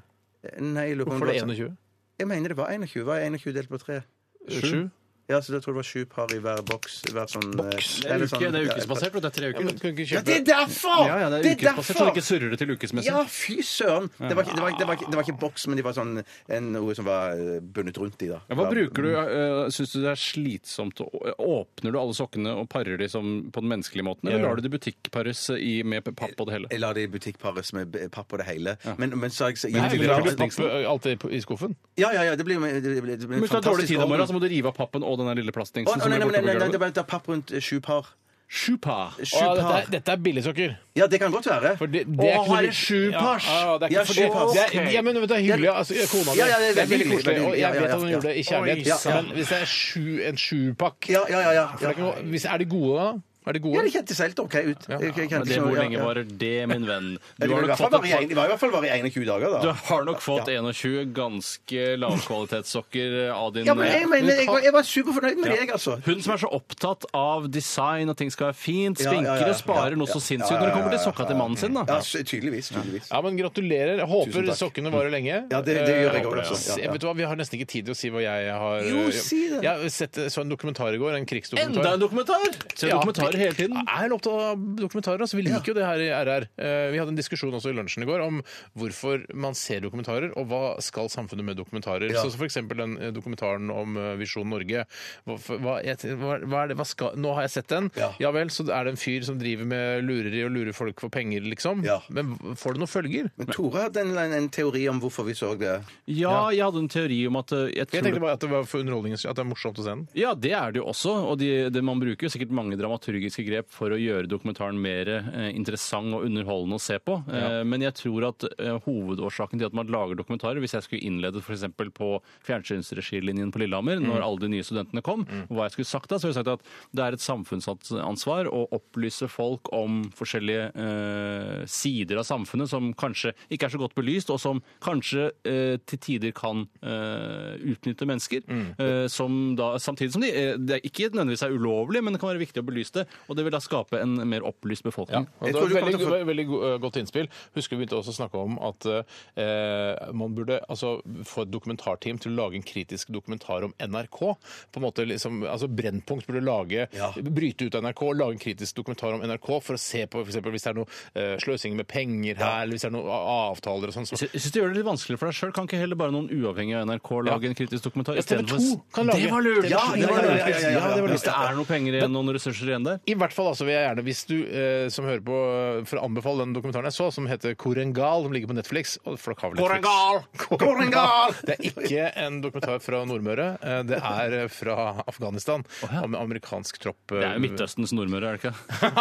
Nei, jeg lurer på om hvorfor det var sånn- 21? Jeg mener det var 21. Var 21 delt på 3? 7? Ja, så da tror jeg det var sju par i hver boks. Hver sånn, boks? Det er, uke, det er ukesbasert, og det er tre Ja, uker. men kan ikke Ja, det kjøpe er derfor! Ja, ja, det er ukesbasert, så det ikke surrer det til ukesmessig. Ja, fy søren! Det var, ikke- det var, ikke- det var, ikke- det var ikke boks, men det var sånn en, noe som var eh, bundet rundt i. da. Ja, Hva bruker du? Uh, Syns du det er slitsomt? å- øh, Åpner du alle sokkene og parer de som på den menneskelige måten, eller Ja. lar du de butikkpares i- med papp og det hele? Jeg la det i butikkparet med b- papp og det hele. Men, men så har jeg så, Nei, jeg- Lager du papp eh, alt det på- i skuffen? liksom- Ja, ja, ja, det blir, det blir, det blir Men Hvis du har dårlig tid om orden. morgenen, så må du rive av pappen og den der lille Å, plastdingsen å, som blir nei, nei, nei, borte på nei, nei, det gulvet. er bare- det er papp rundt eh, sju par. Sju par. Sju Å, dette, par. er, dette er billigsokker. Ja, det kan godt være. For det, Å, det er ikke har noe- det sju Ja, pars? Ja, ja, det er ikke Ja, for sju det, pars. det er, ja, men vet du, det er hyggelig. Ja. Altså, kona mi Ja, ja, det det er er veldig veldig koselig. hyggelig, Og jeg ja, vet at ja, hun ja. gjorde det i kjærlighet. Oi, sant. Men hvis det er sju, en sjupakk Ja, ja, ja. ja. for det er ikke noe- hvis- Er de gode, da? Er de Ja, gode? det kjentes helt OK ut. Jeg- jeg Men kjente det, ikke noe- hvor ja, lenge ja. varer det, min venn? Du Ja, har de var i nok hvert fall fått bare i en- de var i hvert fall bare i 21 dager, da. du har nok fått Ja. 21 ganske lavkvalitetssokker av din eh, Ja, men jeg, mener, jeg, var- jeg var superfornøyd med det, jeg, altså. Hun som er så opptatt av design og ting skal være fint, Ja, ja, sminker ja, ja. og sparer noe Ja, så ja, sinnssykt ja, når det ja, kommer til ja, sokka til mannen sin, Ja, da. så- tydeligvis. tydeligvis. Ja, men Gratulerer. Jeg håper Tusen takk. Mm. sokkene varer lenge. Ja, det- det gjør jeg Eh, også, håper altså. Ja, Jeg- ja. Vet du hva, Vi har nesten ikke tid til å si hva jeg har eh, Jo, si det. Jeg har sett, så en dokumentar i går. En krigsdokumentar. Enda en dokumentar! Se Ja. dokumentarer hele tiden. Jeg er opptatt av dokumentarer. altså Vi liker jo det her i RR. Eh, Vi hadde en diskusjon også i lunsjen i går om hvorfor man ser dokumentarer, og hva skal samfunnet med dokumentarer. Ja. Så så for eksempel den eh, dokumentaren om eh, Visjon Norge. Hva, hva, jeg ten- hva, hva er det, hva skal, nå har jeg sett den. Ja. Ja. vel, så er det en fyr som driver med lureri og lurer folk for penger, liksom. Ja. Men får det noen følger? Men Tore hadde en, en, en teori om hvorfor vi så det. Ja, jeg hadde en teori om at eh, jeg Jeg tror tenkte bare at det var for underholdningens skyld, at det er morsomt å se den. Ja, det er det jo også. Og de, det, man bruker jo sikkert mange dramaturgiske grep for å gjøre dokumentaren mer eh, interessant og underholdende å se på. Eh, men jeg tror at eh, hovedårsaken til at man lager dokumentarer Hvis jeg skulle innledet f.eks. på fjernsynsregilinjen på Lillehammer, når alle de nye studentene kom, og hva jeg skulle sagt da, så ville jeg sagt at det er et samfunnsansvar å opplyse folk om forskjellige eh, sider av samfunnet som kanskje ikke er så godt belyst, og som kanskje eh, til tider kan eh, utnytte mennesker. Mm. eh, som da, samtidig som de eh, det er ikke nødvendigvis er ulovlig, men det kan være viktig å belyse det. Og det vil da skape en mer opplyst befolkning. Og Jeg det var tror du et kommer veldig, til å få- veldig, go- eh, godt innspill. Husker vi begynte også å snakke om at eh, man burde altså, få et dokumentarteam til å lage en kritisk dokumentar om NRK. På en måte liksom, altså Brennpunkt burde lage, Ja. bryte ut NRK og lage en kritisk dokumentar om NRK for å se på for eksempel, hvis det er noe eh, sløsing med penger her, eller hvis det er noen a- avtaler og sånn. Så, Jeg sy- syns du gjør det litt vanskeligere for deg sjøl. Kan ikke heller bare noen uavhengige av NRK lage Ja. en kritisk dokumentar? Ja, TV 2 kan lage- Det var lurt! Ja, det var lurt. Ja, ja, ja, ja. Hvis det er noen penger igjen, noen ressurser igjen der. I hvert fall altså, vil jeg gjerne, hvis du eh, som hører på, eh, for å anbefale den dokumentaren jeg så, som heter Korengal, som ligger på Netflix. Og folk har vel Netflix. Korengal! Det er ikke en dokumentar fra Nordmøre, eh, det er eh, fra Afghanistan. ja. Om en amerikansk tropp eh, Det er jo Midtøstens nordmøre, er det ikke?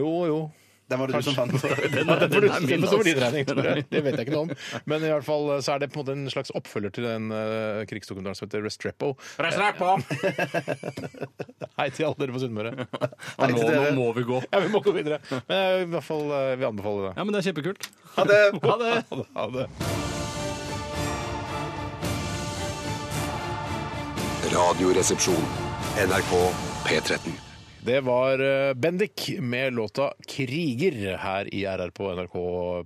jo, jo. Den var det du som fant på. Den, Ja, det får du- er min, det får stå for din altså. regning, Den er Tore. min. Det vet jeg ikke noe om. Men i hvert fall eh, så er det på en måte en slags oppfølger til den eh, krigsdokumentaren som heter Restrepo. Hei til alle dere på Sunnmøre. Og nå, nå må vi gå. Ja, vi må gå videre. Men jeg vil i hvert fall eh, vil anbefale det. Ja, men det er kjempekult. Ha det! Ha det! Ha det. Radioresepsjon. NRK P13. Det var eh, Bendik med låta 'Kriger' her i RR på NRK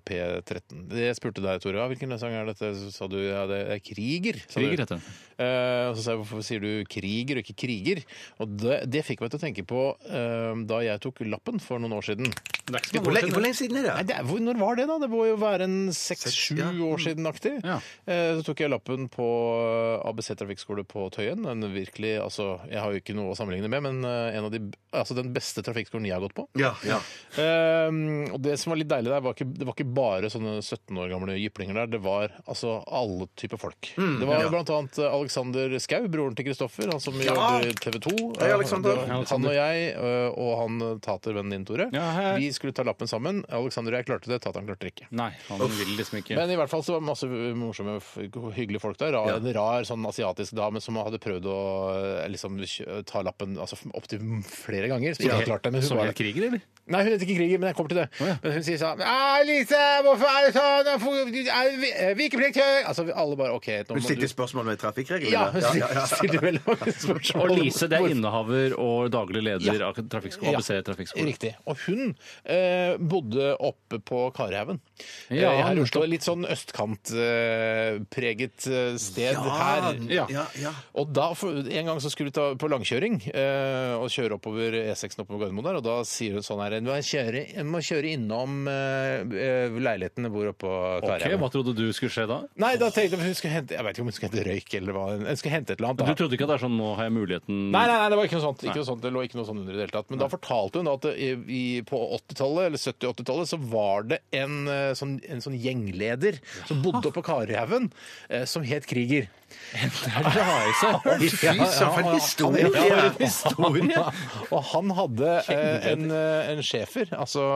P13. Det Jeg spurte deg, Tore, ja, hvilken sang er dette? Så sa du ja, det er 'Kriger'. Sa Kriger du. heter den. Eh, og så sa jeg hvorfor sier du 'kriger' og ikke 'kriger'? Og det, det fikk meg til å tenke på eh, da jeg tok lappen for noen år siden. Hvor lenge, hvor lenge siden er Nei, det? det er, hvor, når var det, da? Det må jo være en seks-sju år siden aktig. Ja. Eh, så tok jeg lappen på eh, ABC trafikkskole på Tøyen. En virkelig, altså, jeg har jo ikke noe å sammenligne med, men eh, en av de, altså, den beste trafikkskolen jeg har gått på. Ja, ja. Eh, og det som var litt deilig der, var ikke, det var ikke bare sånne 17 år gamle jyplinger der. Det var altså alle typer folk. Mm, det var blant annet eh, Alexander Skau, broren til Kristoffer, han som jobber i TV 2. Hei, Alexander. Eh, han og jeg, eh, og han eh, tatervennen din, Tore, Ja, hei. vi skulle ta lappen sammen. Alexander og jeg klarte det, tateren klarte det ikke. Nei, han vil liksom ikke Men i hvert fall så var det masse morsomme, f- hyggelige folk der. Rar, En rar sånn asiatisk dame som hadde prøvd å eh, liksom, kjø- ta lappen altså, opptil flere ganger. Som ikke klarte det, men hun Som var helt kriger, eller? Nei, hun heter ikke Kriger, men jeg kommer til det. ja. Men hun sier sånn «Ah, Lise, hvorfor er det sånn? Hvorfor- du er vi- eh, Vikeplikt høy!» Altså, vi alle bare OK. Nå Hun må du stilte spørsmål ved trafikkreglene. ja, hun ja, ja, ja. stilte veldig mange spørsmål. Og Lise, det er Hvorfor- innehaver og daglig leder av trafikkskolen, Ja. ABC Trafikkskole. Riktig. Og hun eh, bodde oppe på Karihaugen. Ja, eh, her i Oslo. nettopp. Litt sånn østkantpreget eh, preget, eh, sted her. ja, ja. Og da, for, En gang så skulle vi ta på langkjøring eh, og kjøre oppover E6 oppover Gardermoen der, og da sier hun sånn her Du må kjøre, jeg må kjøre innom eh, eh, leilighetene hvor oppe på Ok, Karihaugen. Hva trodde du skulle skje da? Nei, da tenkte jeg hun skulle hente Jeg vet ikke om hun skulle hente røyk eller hva. Hun skulle hente et eller annet. Du da. trodde ikke at det er sånn 'nå har jeg muligheten' Nei, nei, nei, det var ikke noe sånt. Ikke noe sånt det lå ikke noe sånt under i det hele tatt. Men da fortalte hun da at det i, i, på 80-tallet, eller 70-80-tallet, så var det en, eh, sånn, en sånn gjengleder som bodde oppe på Karihaugen, eh, som het Kriger. Det er det rareste. Fy søren, for en Ja, historie! ja, ja. Og Og han hadde eh, en, eh, en schæfer. Altså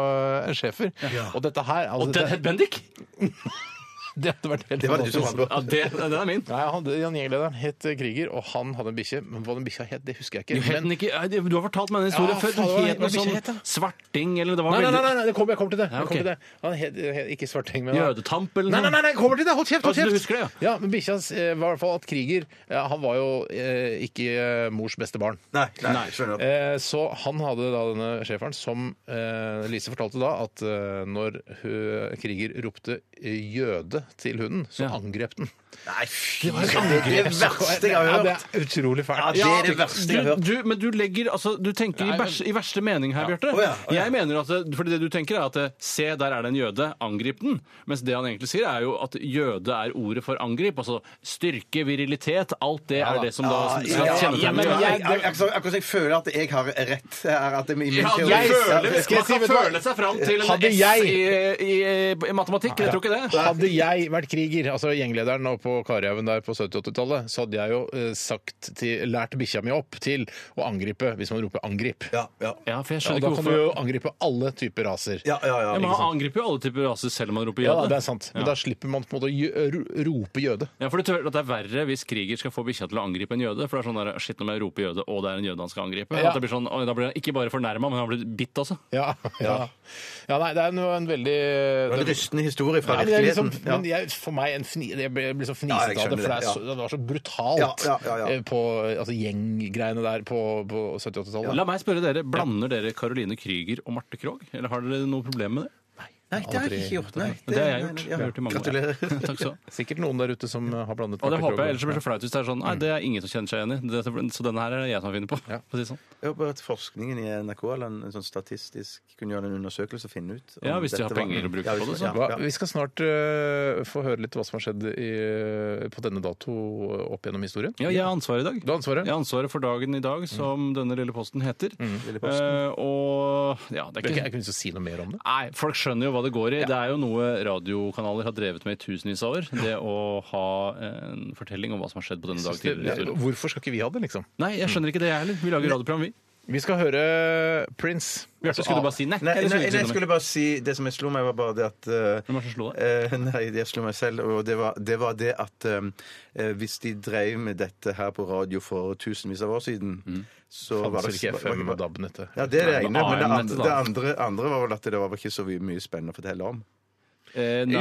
en schæfer. Og dette her altså, Og den het Bendik! det, det hadde vært helt Det var det du som fantastisk. fant på. Ja, det, den er min. Nei, han, han gjenglederen het Kriger, og han hadde en bikkje. Men hva den bikkja het, det husker jeg ikke. Du, het Men- den ikke, Nei, det- du har fortalt meg den historien Ja, før. faen, Den hva het noe het den sånn bikkja het, da? Svarting eller det var Nei, nei, veldig nei, nei, nei, det kommer, jeg kommer til det. Ja, Jeg kommer til ok. det. Han het, het ikke Svarteng, men han- Jødetamp eller Nei, nei, nei, nei, jeg kommer til det! Hold kjeft! hold Altså, kjeft! du husker det, ja. men Bikkja eh, var i hvert fall at Kriger eh, Han var jo eh, ikke eh, mors beste barn. Nei, nei, skjønner. Eh, så han hadde da denne schæferen som eh, Lise fortalte da at eh, når hun, Kriger ropte eh, 'jøde' til hunden, så Ja. angrep den. Nei, fy! Det er det verste jeg har Ja, hørt. det er utrolig fælt. Ja, det er det verste jeg Du, har hørt. du, men du legger altså, Du tenker Nei, i, vers, i verste mening her, Bjarte. Å ja, å ja. Jeg mener at det- Fordi det du tenker, er at eh, se, der er det en jøde, angrip den. Mens det han egentlig sier, er jo at jøde er ordet for angrip. Altså styrke, virilitet, alt det er det som da som skal Ja, kjenne ja, men jeg- jeg- igjen. jeg- jeg- Akkurat som jeg føler at jeg har rett her. At det er min Ja, teori. jeg skal føler, jeg si, vet man kan du hva? føle seg fram til en Hadde S jeg- i, i, i matematikk. Jeg tror ikke det. Hadde jeg vært kriger, altså gjenglederen og på Karihaugen der på 70-80-tallet, så hadde jeg jo eh, sagt til, lært bikkja mi opp til å angripe, hvis man roper 'angrip'. Ja, ja. Ja, for jeg Ja, og skjønner da ikke kan hvorfor du jo angripe alle typer raser. Ja, ja, ja. ja, men Han angriper jo alle typer raser selv om han roper Ja, jøde. det er sant. Men Ja. da slipper man på en måte å gjø- ro- rope 'jøde'. Ja, for du tør at Det er verre hvis kriger skal få bikkja til å angripe en jøde. For det er sånn der, shit, nå må jeg rope jøde, og det er en jøde han skal angripe. Ja. At det blir sånn, «Oi, Da blir han ikke bare fornærma, men han blir bitt også. Ja, ja. ja, nei, det er jo en veldig Det var en rystende historie fra ja, men det er liksom, virkeligheten. Ja. men jeg, for meg en fni, jeg ble liksom Ja, fniset av det, for jeg det, skjønner er det, så, det var så brutalt Ja, ja, ja, ja. eh, på altså, gjenggreiene der på, på 70-80-tallet. La meg spørre dere, Blander dere Caroline Kryger og Marte Krogh? Eller har dere noe problem med det? Nei, det har jeg ikke gjort. Nei, Det har jeg gjort. ja. Jeg har gjort i mange år. Gratulerer. Takk skal du ha. Sikkert noen der ute som har blandet Og det Marte Krogh. håper jeg, ellers blir det så flaut hvis det er sånn Nei, det er ingen som kjenner seg igjen i. Dette- Så denne her er det jeg som har funnet på. for å si det sånn. Jeg håper at forskningen i NRK eller en, en sånn statistisk kunne gjøre en undersøkelse og finne ut om Ja, hvis de har dette var- penger å bruke Ja, på hvis- det, så. Hva, Ja, ja. Vi skal snart eh, få høre litt hva som har skjedd i, eh, på denne dato opp gjennom historien. Ja, jeg har ansvaret i dag. Du har ansvaret. Jeg har ansvaret for dagen i dag, som denne lille posten heter. Lille posten. Eh, og ja, det er Jeg ikke kunne ikke lyst til å si noe mer om det. Nei, folk skjønner jo hva det går i. Det er jo noe radiokanaler har drevet med i tusenvis av år. Det å ha en fortelling om hva som har skjedd på denne dag tidligere. i historien. Hvorfor skal ikke vi ha det, liksom? Nei, jeg skjønner ikke det, jeg heller. Vi lager radioprogram, vi. Vi skal høre Prince. Bjarte, skulle ah. du bare si nei? Nei, Eller nei, skulle du nei, jeg si noe mer? skulle bare si Det som jeg slo meg, var bare det at eh, Hvem var det som slo deg? eh, Nei, det jeg slo meg selv. Og det var det, var det at eh, hvis de drev med dette her på radio for tusenvis av år siden, så var Fantes det ikke FM og DAB-nettet. Ja, det er det Nei, ene. Men det AM-nettet, andre, det da. andre, andre var vel at det var ikke så mye spennende å fortelle om. Eh, nei,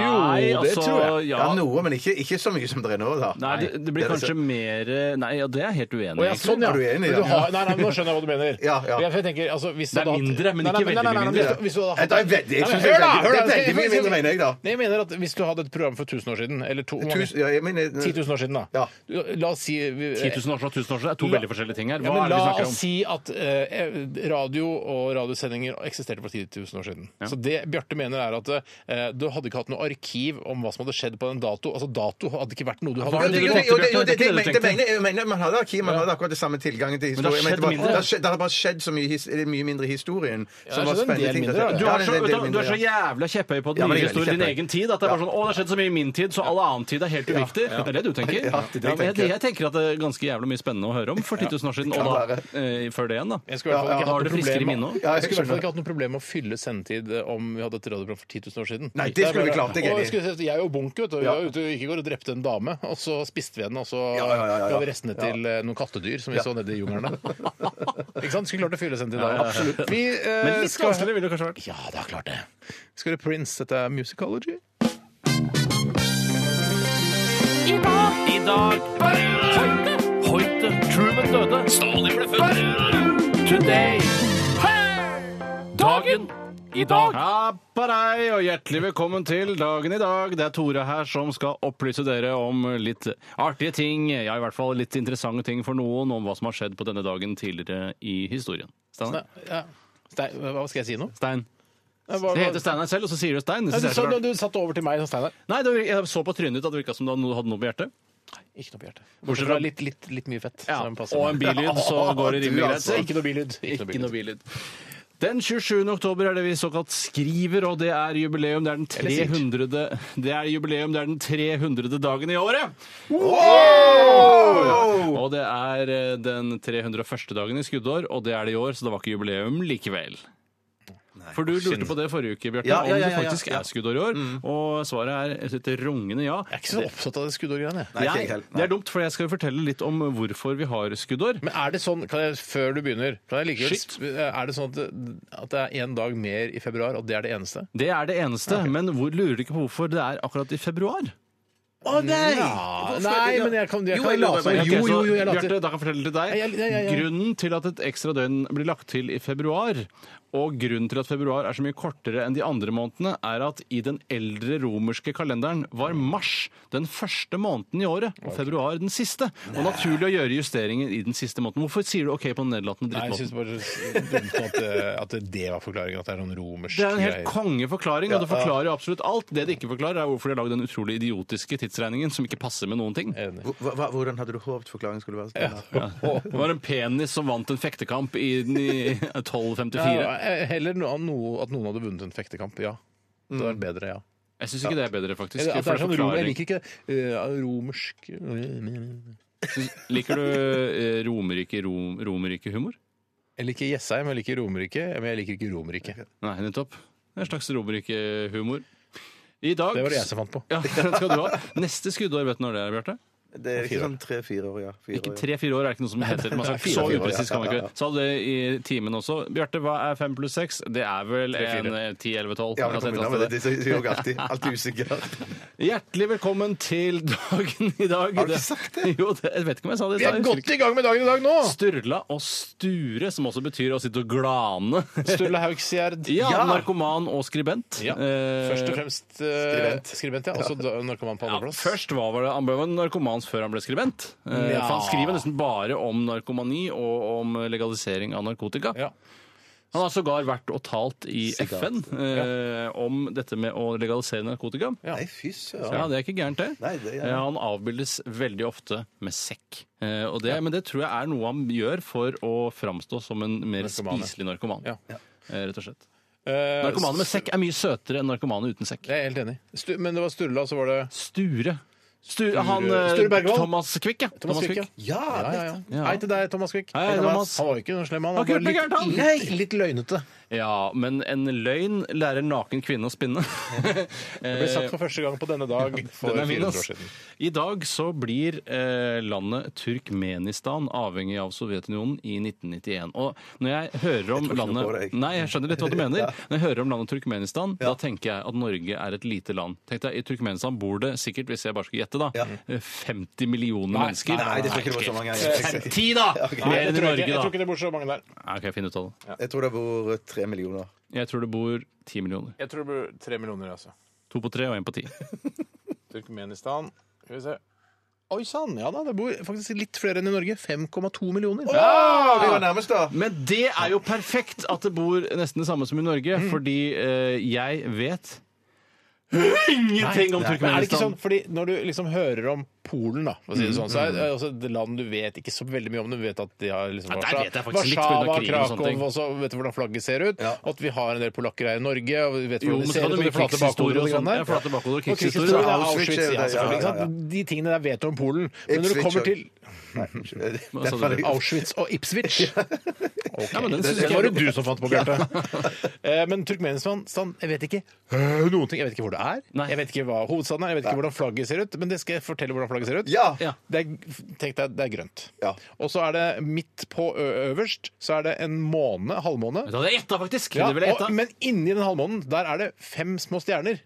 Jo, det altså, tror Ja, Ja. noe, men ikke, ikke så mye som det er nå, da. Nei, det, det blir er kanskje mer Nei, ja, det er jeg helt altså- Å, uenig i. ja, sånn, egentlig. ja. Er du enig, Men ja? har- nei, nei, men nå skjønner jeg hva du mener. Ja, ja. Jeg- for Jeg tenker, altså, hvis Det er da- mindre, men ikke veldig mye mindre. hvis du- hvis du hadde Nei, hatt- det er veldig- jeg Nei, men synes det er hør da, veldig- hør da, det er veldig mye skal- mindre, mener jeg, da. Nei, jeg mener at Hvis du hadde et program for 1000 år siden, eller to, hvor mange- Tusen, ja, jeg mener, 10 000 år siden, da. Ja. Du- La oss si 10 000 år siden og 1000 år siden er to La- veldig forskjellige ting her. Ja, Hva men er det vi la snakker oss om? si at eh, radio og radiosendinger eksisterte for 10 000 år siden. Så det Bjarte mener er at eh, du hadde ikke hatt noe arkiv om hva som hadde skjedd på den dato. Altså dato hadde ikke vært noe du hadde Var Jo, det det, du jo, tenkte, jo, det, Bjarte? jo, Det er ikke det det, det, du men- tenkte. det mener jeg- jeg mener man hadde arkiv, man hadde akkurat den samme tilgangen til Men det har historie. Jeg mente skjedd bare- mindre. det har skjedd- Det har bare skjedd så mye, his- eller mye mindre i historien. Som det har skjedd en var del spennende mindre, ja. ting. Du Ja, er, det så, vet du, en del du er så mindre, ja. jævla kepphøy på den nye Ja, men jeg er veldig historien, din kjepphøy. egen tid. At det er bare sånn, å, det har skjedd så mye i min tid, så all annen tid er helt uviktig. Det er det du tenker. Ja, det er det jeg Ja, men jeg, tenker. jeg tenker at det er ganske jævla mye spennende å høre om for 10 000 år siden, og da eh, før det igjen, da. Jeg skulle i hvert fall ikke Ja, da hatt har du noe friskere problem- minne også. Ja, Jeg skulle i hvert jeg fall skjønner. ikke hatt noe problem med å fylle sendetid eh, om vi hadde et radioprogram for 10 000 år siden. Nei, det skulle vi klart, det er Og enig. jeg, skulle si at jeg og Bunk vet du, vi Ja. var ute og gikk i går og drepte en dame, og så spiste vi henne, og så Ja, ja, ja, ja, ja. ga vi restene til eh, noen kattedyr som vi så nede i jungelen der. ikke sant? Skulle klart å fylle sendetid da. Absolutt. Vi, eh, Men litt skal- vanskelig ville det kanskje vært. Ja, det er klart det. Skal du Prince? Dette er Musicology. I dag Hoite, Hoite, eh, Truman døde. Stalin ble født. Today. Dagen i dag. Apparei, og hjertelig velkommen til dagen i dag. Det er Tore her som skal opplyse dere om litt artige ting, ja, i hvert fall litt interessante ting for noen, om hva som har skjedd på denne dagen tidligere i historien. Steinar? Ja. Stein, hva skal jeg si nå? Stein. Hva- hva- Det heter Steinar selv, og så sier du Stein. Det Ja, synes du, jeg er så sa, rart. du satte over til meg som Steinar. Nei, det, jeg så på trynet ditt at det virka som du hadde noe på hjertet. Ikke noe på hjertet. Bortsett Bortsett fra- fra litt, litt, litt mye fett. Ja, som passer og en meg. bilyd, så går det Du, rimelig greit. altså. Ikke noe bilyd. Ikke noe bilyd. Den 27. oktober er det vi såkalt skriver, og det er jubileum. Det er den 300. Det er jubileum, det er den 300. dagen i året! Og det er eh, den 301. dagen i skuddår, og det er det i år, så det var ikke jubileum likevel. For du lurte på det forrige uke, Bjarte, Ja, ja, ja, om ja, det ja. faktisk er skuddår i år. Og svaret er et rungende ja. Jeg er ikke så opptatt av det skuddårgreiene. jeg. Nei, ikke Jeg- helt heller. det er dumt, for jeg skal jo fortelle litt om hvorfor vi har skuddår. Men er det sånn, kan jeg, før du begynner, kan jeg likevel, Shit. sp- er det sånn at det, at det er én dag mer i februar, og det er det eneste? Det er det eneste, men hvor lurer du ikke på hvorfor det er akkurat i februar? Å nei! Nei, men jeg kan, jeg Jo, kan jeg late lover som. meg. Jo, jo, jo, jeg Bjarte, later. da kan jeg fortelle det til deg. Ja, ja, ja, ja. Grunnen til at et ekstra døgn blir lagt til i februar, og grunnen til at februar er så mye kortere enn de andre månedene, er at i den eldre romerske kalenderen var mars den første måneden i året, og februar den siste. Og naturlig å gjøre justeringer i den siste måneden. Hvorfor sier du OK på den nedlatende Nei, jeg drittmåten? syns bare det er dumt at, eh, at det var forklaringen, at det er noen romersk Det er en helt greie. kongeforklaring, og det forklarer jo absolutt alt. Det det ikke forklarer, er hvorfor de har lagd den utrolig idiotiske tidsregningen som ikke passer med noen ting. Enig. Hva- hva- Hvordan hadde du håpet forklaringen skulle være? Ja. Det var en penis som vant en fektekamp i, den i 1254. Ja, eh, heller no, noe, at noen hadde vunnet en fektekamp, ja. Det hadde vært bedre, ja. Jeg syns ikke det er bedre, faktisk. At det for er sånn rom, jeg forklaring. liker ikke det. Eh, romersk Jeg Liker du eh, romerike rom, romerikehumor? liker Jessheim, jeg liker Romerike, men jeg liker ikke Romerike. Nei, nettopp. Det er en slags romerikehumor. I dag Det var det jeg som fant på. Ja, den skal du ha. Neste skuddår, vet du når det er, Bjarte? Det er ikke sånn tre-fire år, ja. Fire Ikke år, ja. tre-fire år er ikke noe som heter. Man skal Nei, ikke så fire, fire år, upresist ja, kan man ja, ikke. Sa du det i timen også? Bjarte, hva er fem pluss seks? Det er vel Det er fire. en eh, ti, elleve, tolv? Ja, Jeg men kan kom sette unna oss med til det. Det er jo alltid, alltid usikkert. Hjertelig velkommen til dagen i dag. Har du ikke sagt det? Jo, det, jeg vet ikke om jeg sa det. Vi er godt i gang med dagen i dag nå! Sturla og sture, som også betyr å sitte og glane. Sturla Haugsgjerd. Ja, narkoman og skribent. Ja. Eh, Først og fremst eh, Skribent. skribent ja. Også da- narkoman på ja, andreplass. først var det, Han ble jo en narkoman før han ble skribent. Eh, Ja. For han skriver nesten bare om narkomani og om legalisering av narkotika. Ja. Han har sågar vært og talt i Sikkert. FN eh, om dette med å legalisere narkotika. Ja. Nei, fy søren. Ja, det er ikke gærent, det. Nei, det er- Eh, Han avbildes veldig ofte med sekk. Eh, Og det, Men det tror jeg er noe han gjør for å framstå som en mer Narkoman, ja. spiselig narkoman. Ja. Eh, Rett og slett. Eh, Narkomane med sekk er mye søtere enn narkomane uten sekk. Jeg er helt enig. Stu, men det var Sturla, så var det Sture. Sture, han, eh, Sture Bergwall. Thomas Quick, ja. Thomas Quick. Ja. Ja, Ja, ja, ja. Ja. Hei til deg, Thomas Quick. Hei, Hei, Thomas. Han var jo ikke noen slem, han. Har ikke var gjort noe gærent, han. litt, litt, litt løgnete. Ja, men en løgn lærer naken kvinne å spinne. Eh, Det ble sagt for første gang på denne dag for Den er min, 400 år ass. siden. I dag så blir eh, landet Turkmenistan avhengig av Sovjetunionen i 1991. Og når jeg hører om tror ikke noe landet på det, jeg. Nei, jeg skjønner litt hva du mener. Når jeg hører om landet Turkmenistan, da tenker jeg at Norge er et lite land. Tenk deg, I Turkmenistan bor det sikkert, hvis jeg bare skulle gjette, da, Ja. eh, 50 millioner mennesker. Nei, det tror jeg ikke det var så mange. Jeg, 50, da! Nei, Mer jeg enn i tror ikke, jeg tror Norge, da. ikke det bor så mange der. Nei, ok, jeg finner ut av det. jeg tror det bor tre millioner. Jeg tror det bor 10 millioner. Jeg tror det bor tre millioner, altså. To på tre og én på ti. Turkmenistan. Skal vi se. Oi sann! Ja da, det bor faktisk litt flere enn i Norge. 5,2 millioner. Ja, vi var nærmest, da. Men det er jo perfekt at det bor nesten det samme som i Norge, fordi eh, jeg vet ingenting om Men er det ikke Turkmenistan. sånn, fordi Når du liksom hører om Polen, da, for å si det sånn, så er det altså et land du vet ikke så veldig mye om. Du vet at de har liksom Ja, der vet jeg Warszawa, faktisk litt på grunn av Warszawa, krigen og sånne ting. Krakow også, vet du hvordan flagget ser ut. Og at vi har en del polakker her i Norge. og vi vet Jo, hvordan men de så ser kan ut, du og de mye flate bakhoder og krigshistorie og sånn. sånn der. Ja, flate bakhoder og Og krigshistorie. krigshistorie, da. ja, Auschwitz, Auschwitz, ja, ja, selvfølgelig. ikke ja, ja. sant? De tingene der vet du om Polen. Men når du Ipswich kommer også. til Hva sa du? Auschwitz og Ipswich Ja, men den Det, synes det jeg var det du som fant på, Bjarte. Eh, Men Turkmenistan stand, Jeg vet ikke øh, noen ting. Jeg vet ikke hvor det er. Nei. Jeg vet ikke hva hovedstaden er. Jeg vet ikke hvordan flagget ser ut. Men det skal jeg fortelle hvordan flagget ser ut. Ja. Ja. Det er, tenk deg, det er grønt. Ja. Og så er det midt på ø øverst, så er det en måne, halvmåne. Det hadde jeg gjetta, faktisk. Ja, det ville jeg og, gjetta. men inni den halvmånen, der er det fem små stjerner.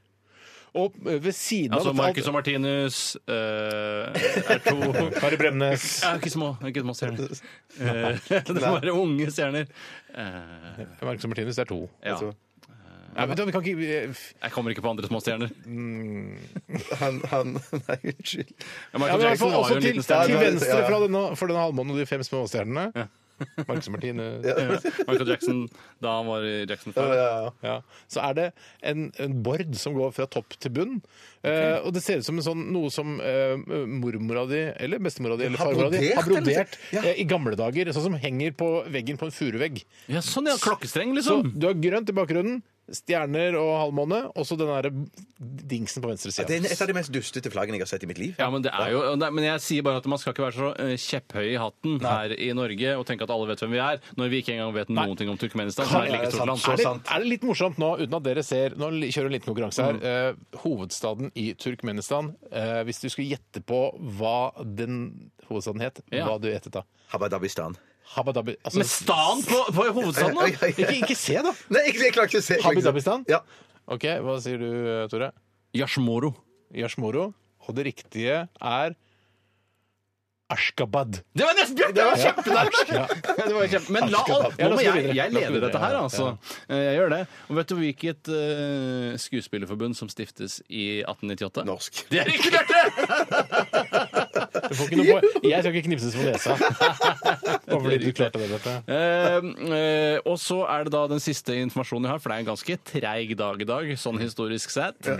Og ø, ved siden Altså av Marcus og Martinus eh, er to Kari Bremnes. ja, ikke små, ikke små stjerner. Eh, det må være unge stjerner. Eh, Marcus og Martinus, det er to. ja. Nei, vet du, vi kan ikke vi, Jeg kommer ikke på andre små stjerner. Han, han Nei, unnskyld. Michael ja, men i hvert Jackson fall var jo også en til, liten til stjerne. venstre fra denne, for denne halvmånen og de fem små stjernene, Marcus Martinus Michael Jackson da han var i Jackson 5. ja. Så er det en, en bord som går fra topp til bunn. Eh, og det ser ut som en sånn, noe som eh, mormora di, eller bestemora di, eller Har farmora di, brodert, har brodert eller? Ja. eh, i gamle dager. Sånn som henger på veggen på en furuvegg. Ja, sånn ja. Klokkestreng, Så liksom. du har grønt i bakgrunnen, stjerner og halvmåne, og så den derre dingsen på venstre Det side. er et av de mest dustete flaggene jeg har sett i mitt liv. Ja, men, det er jo, nei, men jeg sier bare at man skal ikke være så eh, kjepphøy i hatten her i Norge og tenke at alle vet hvem vi er, når vi ikke engang vet noen ting om Turkmenistan. som er et like stort land. så Er det, sant. er det litt morsomt nå, uten at dere ser Nå li- kjører en liten konkurranse her. Eh, hovedstaden i Turkmenistan. Eh, hvis du skulle gjette på hva den hovedstaden het, Ja. hva du gjettet da? Habadabistan. Habadabi... Altså, Med stan på, på hovedstaden, da! ikke, ikke se, da! Nei, jeg, jeg klarer ikke å se. jeg klarer ikke å se. Habidabistan? Ja. OK, hva sier du, eh, Tore? Yashmoro. Yashmoro. Og det riktige er Ashkabad. Det var nesten Bjarte! Det var kjempenært! Det var kjempe... Men la alt, Ja, la oss nå må gå jeg, videre. jeg La oss gå leder videre, dette her, ja, altså. Eh, Jeg gjør det. Og vet du hvilket eh, skuespillerforbund som stiftes i 1898? Norsk. Det er ikke Bjarte! Du får ikke noe poeng. Jeg skal ikke knipses på nesa. Bare fordi du klarte det, Bjarte. Eh, eh, og så er det da den siste informasjonen jeg har, for det er en ganske treig dag i dag, sånn historisk sett.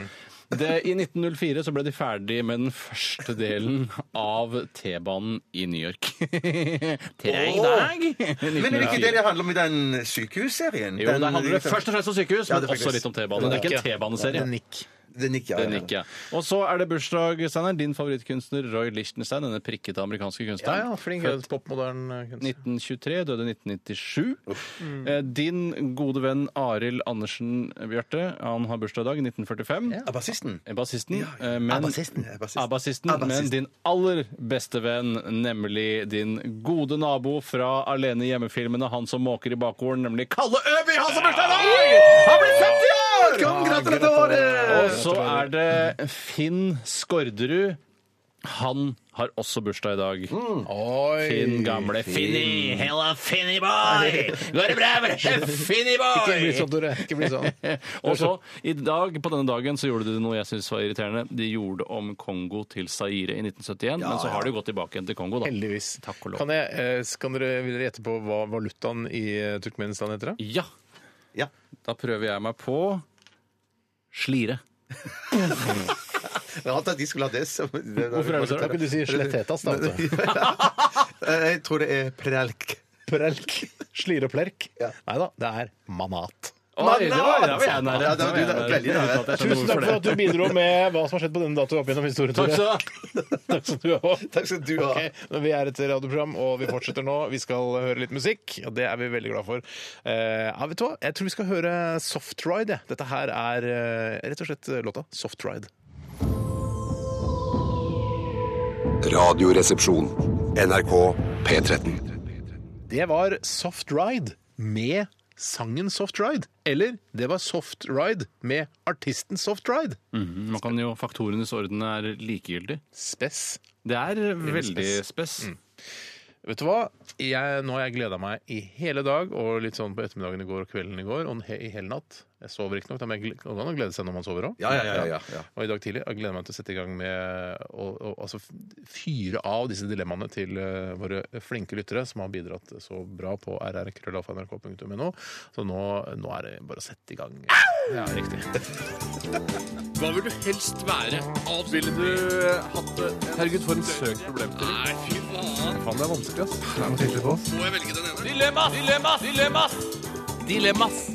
Det, I 1904 så ble de ferdig med den første delen av T-banen i New York. Treig dag! Men er det ikke 1904. det det handler om i den sykehusserien? Jo, Den- det handler først og fremst om sykehus, Ja, men det er også faktisk- litt om T-bane. Det er ikke en T-baneserie. Den gikk, ja. Den ja. gikk, ja. Og så er det bursdag, Steinar. Din favorittkunstner Roy Lichtenstein, denne prikkete amerikanske kunstneren. Født popmoderne 1923, døde 1997. Eh, Din gode venn Arild Andersen Bjarte, han har bursdag i dag, 1945. Ja, Bassisten. Eh, Bassisten. Ja, ja. eh, men- Abbassisten, ja, bassisten. Abbassisten, Men Abbassisten. din aller beste venn, nemlig din gode nabo fra Alene hjemme-filmene, han som måker i bakgården, nemlig Kalle Øby! Han som bursdag i dag! Han blir 50 år! Og Gratulerer! så er det Finn Skårderud. Han har også bursdag i dag. Mm. Finn gamle Finni! Hella Finni boy! Går det bra med Finni Ikke bli boy? sånn, Tore. Ikke bli sånn. Og så, i dag, på denne dagen, så gjorde de noe jeg syns var irriterende. De gjorde om Kongo til Zaire i 1971, men så har de gått tilbake igjen til Kongo, da. Heldigvis. Takk og lov. Kan, jeg, eh, kan dere, vil dere gjette på hva valutaen i eh, Turkmenistan heter? da? Ja. Ja. Da prøver jeg meg på slire. Rart at de skulle ha det som Hvorfor er det så rart? Kan du si slettetas, da, altså? Jeg tror det er prelk. Prelk. Slire og plerk? Ja. Nei da, det er manat. Oi, det var, der var jeg Ja, nære. det var du Der var der. jeg Veldig nære. Uten at jeg skjønner Tusen takk for hvorfor at du bidro med hva som har skjedd på denne datoen opp gjennom historien. Takk Tore. skal du ha. Takk skal du ha. Takk skal du ha. Ok, men vi er et radioprogram, og vi fortsetter nå. Vi skal høre litt musikk, og det er vi veldig glad for. Eh, ja, vet du hva? Jeg tror vi skal høre Soft Ride. jeg. Dette her er eh, rett og slett låta Soft Ride. Radioresepsjon. NRK P13. Det var Soft Ride med sangen Soft Ride. Eller det var Soft Ride med artisten Soft Ride. Man kan jo Faktorenes orden er likegyldig. Spess. Det er veldig spess. Vet du hva? Jeg, nå har jeg gleda meg i hele dag og litt sånn på ettermiddagen i går og kvelden i går og he, i hele natt. Jeg sover ikke nok, da, men jeg gle- det går an å glede seg når man sover òg. Ja, ja, ja, ja, ja. Og i dag tidlig jeg gleder meg til å sette i gang med å å- altså f- fyre av disse dilemmaene til eh, våre flinke lyttere som har bidratt så bra på rrkrøllalfa.nrk.no. Så nå, nå er det bare å sette i gang. Ja, riktig. Hva vil du helst være? Ville du hatt det? Herregud, for en søk problemstilling. Nei, fy faen. Faen, det er vanskelig, ass. Det er noe tydelig på. Må jeg velge den ene? Dilemmas! Dilemmas! Dilemmas! Dilemmas!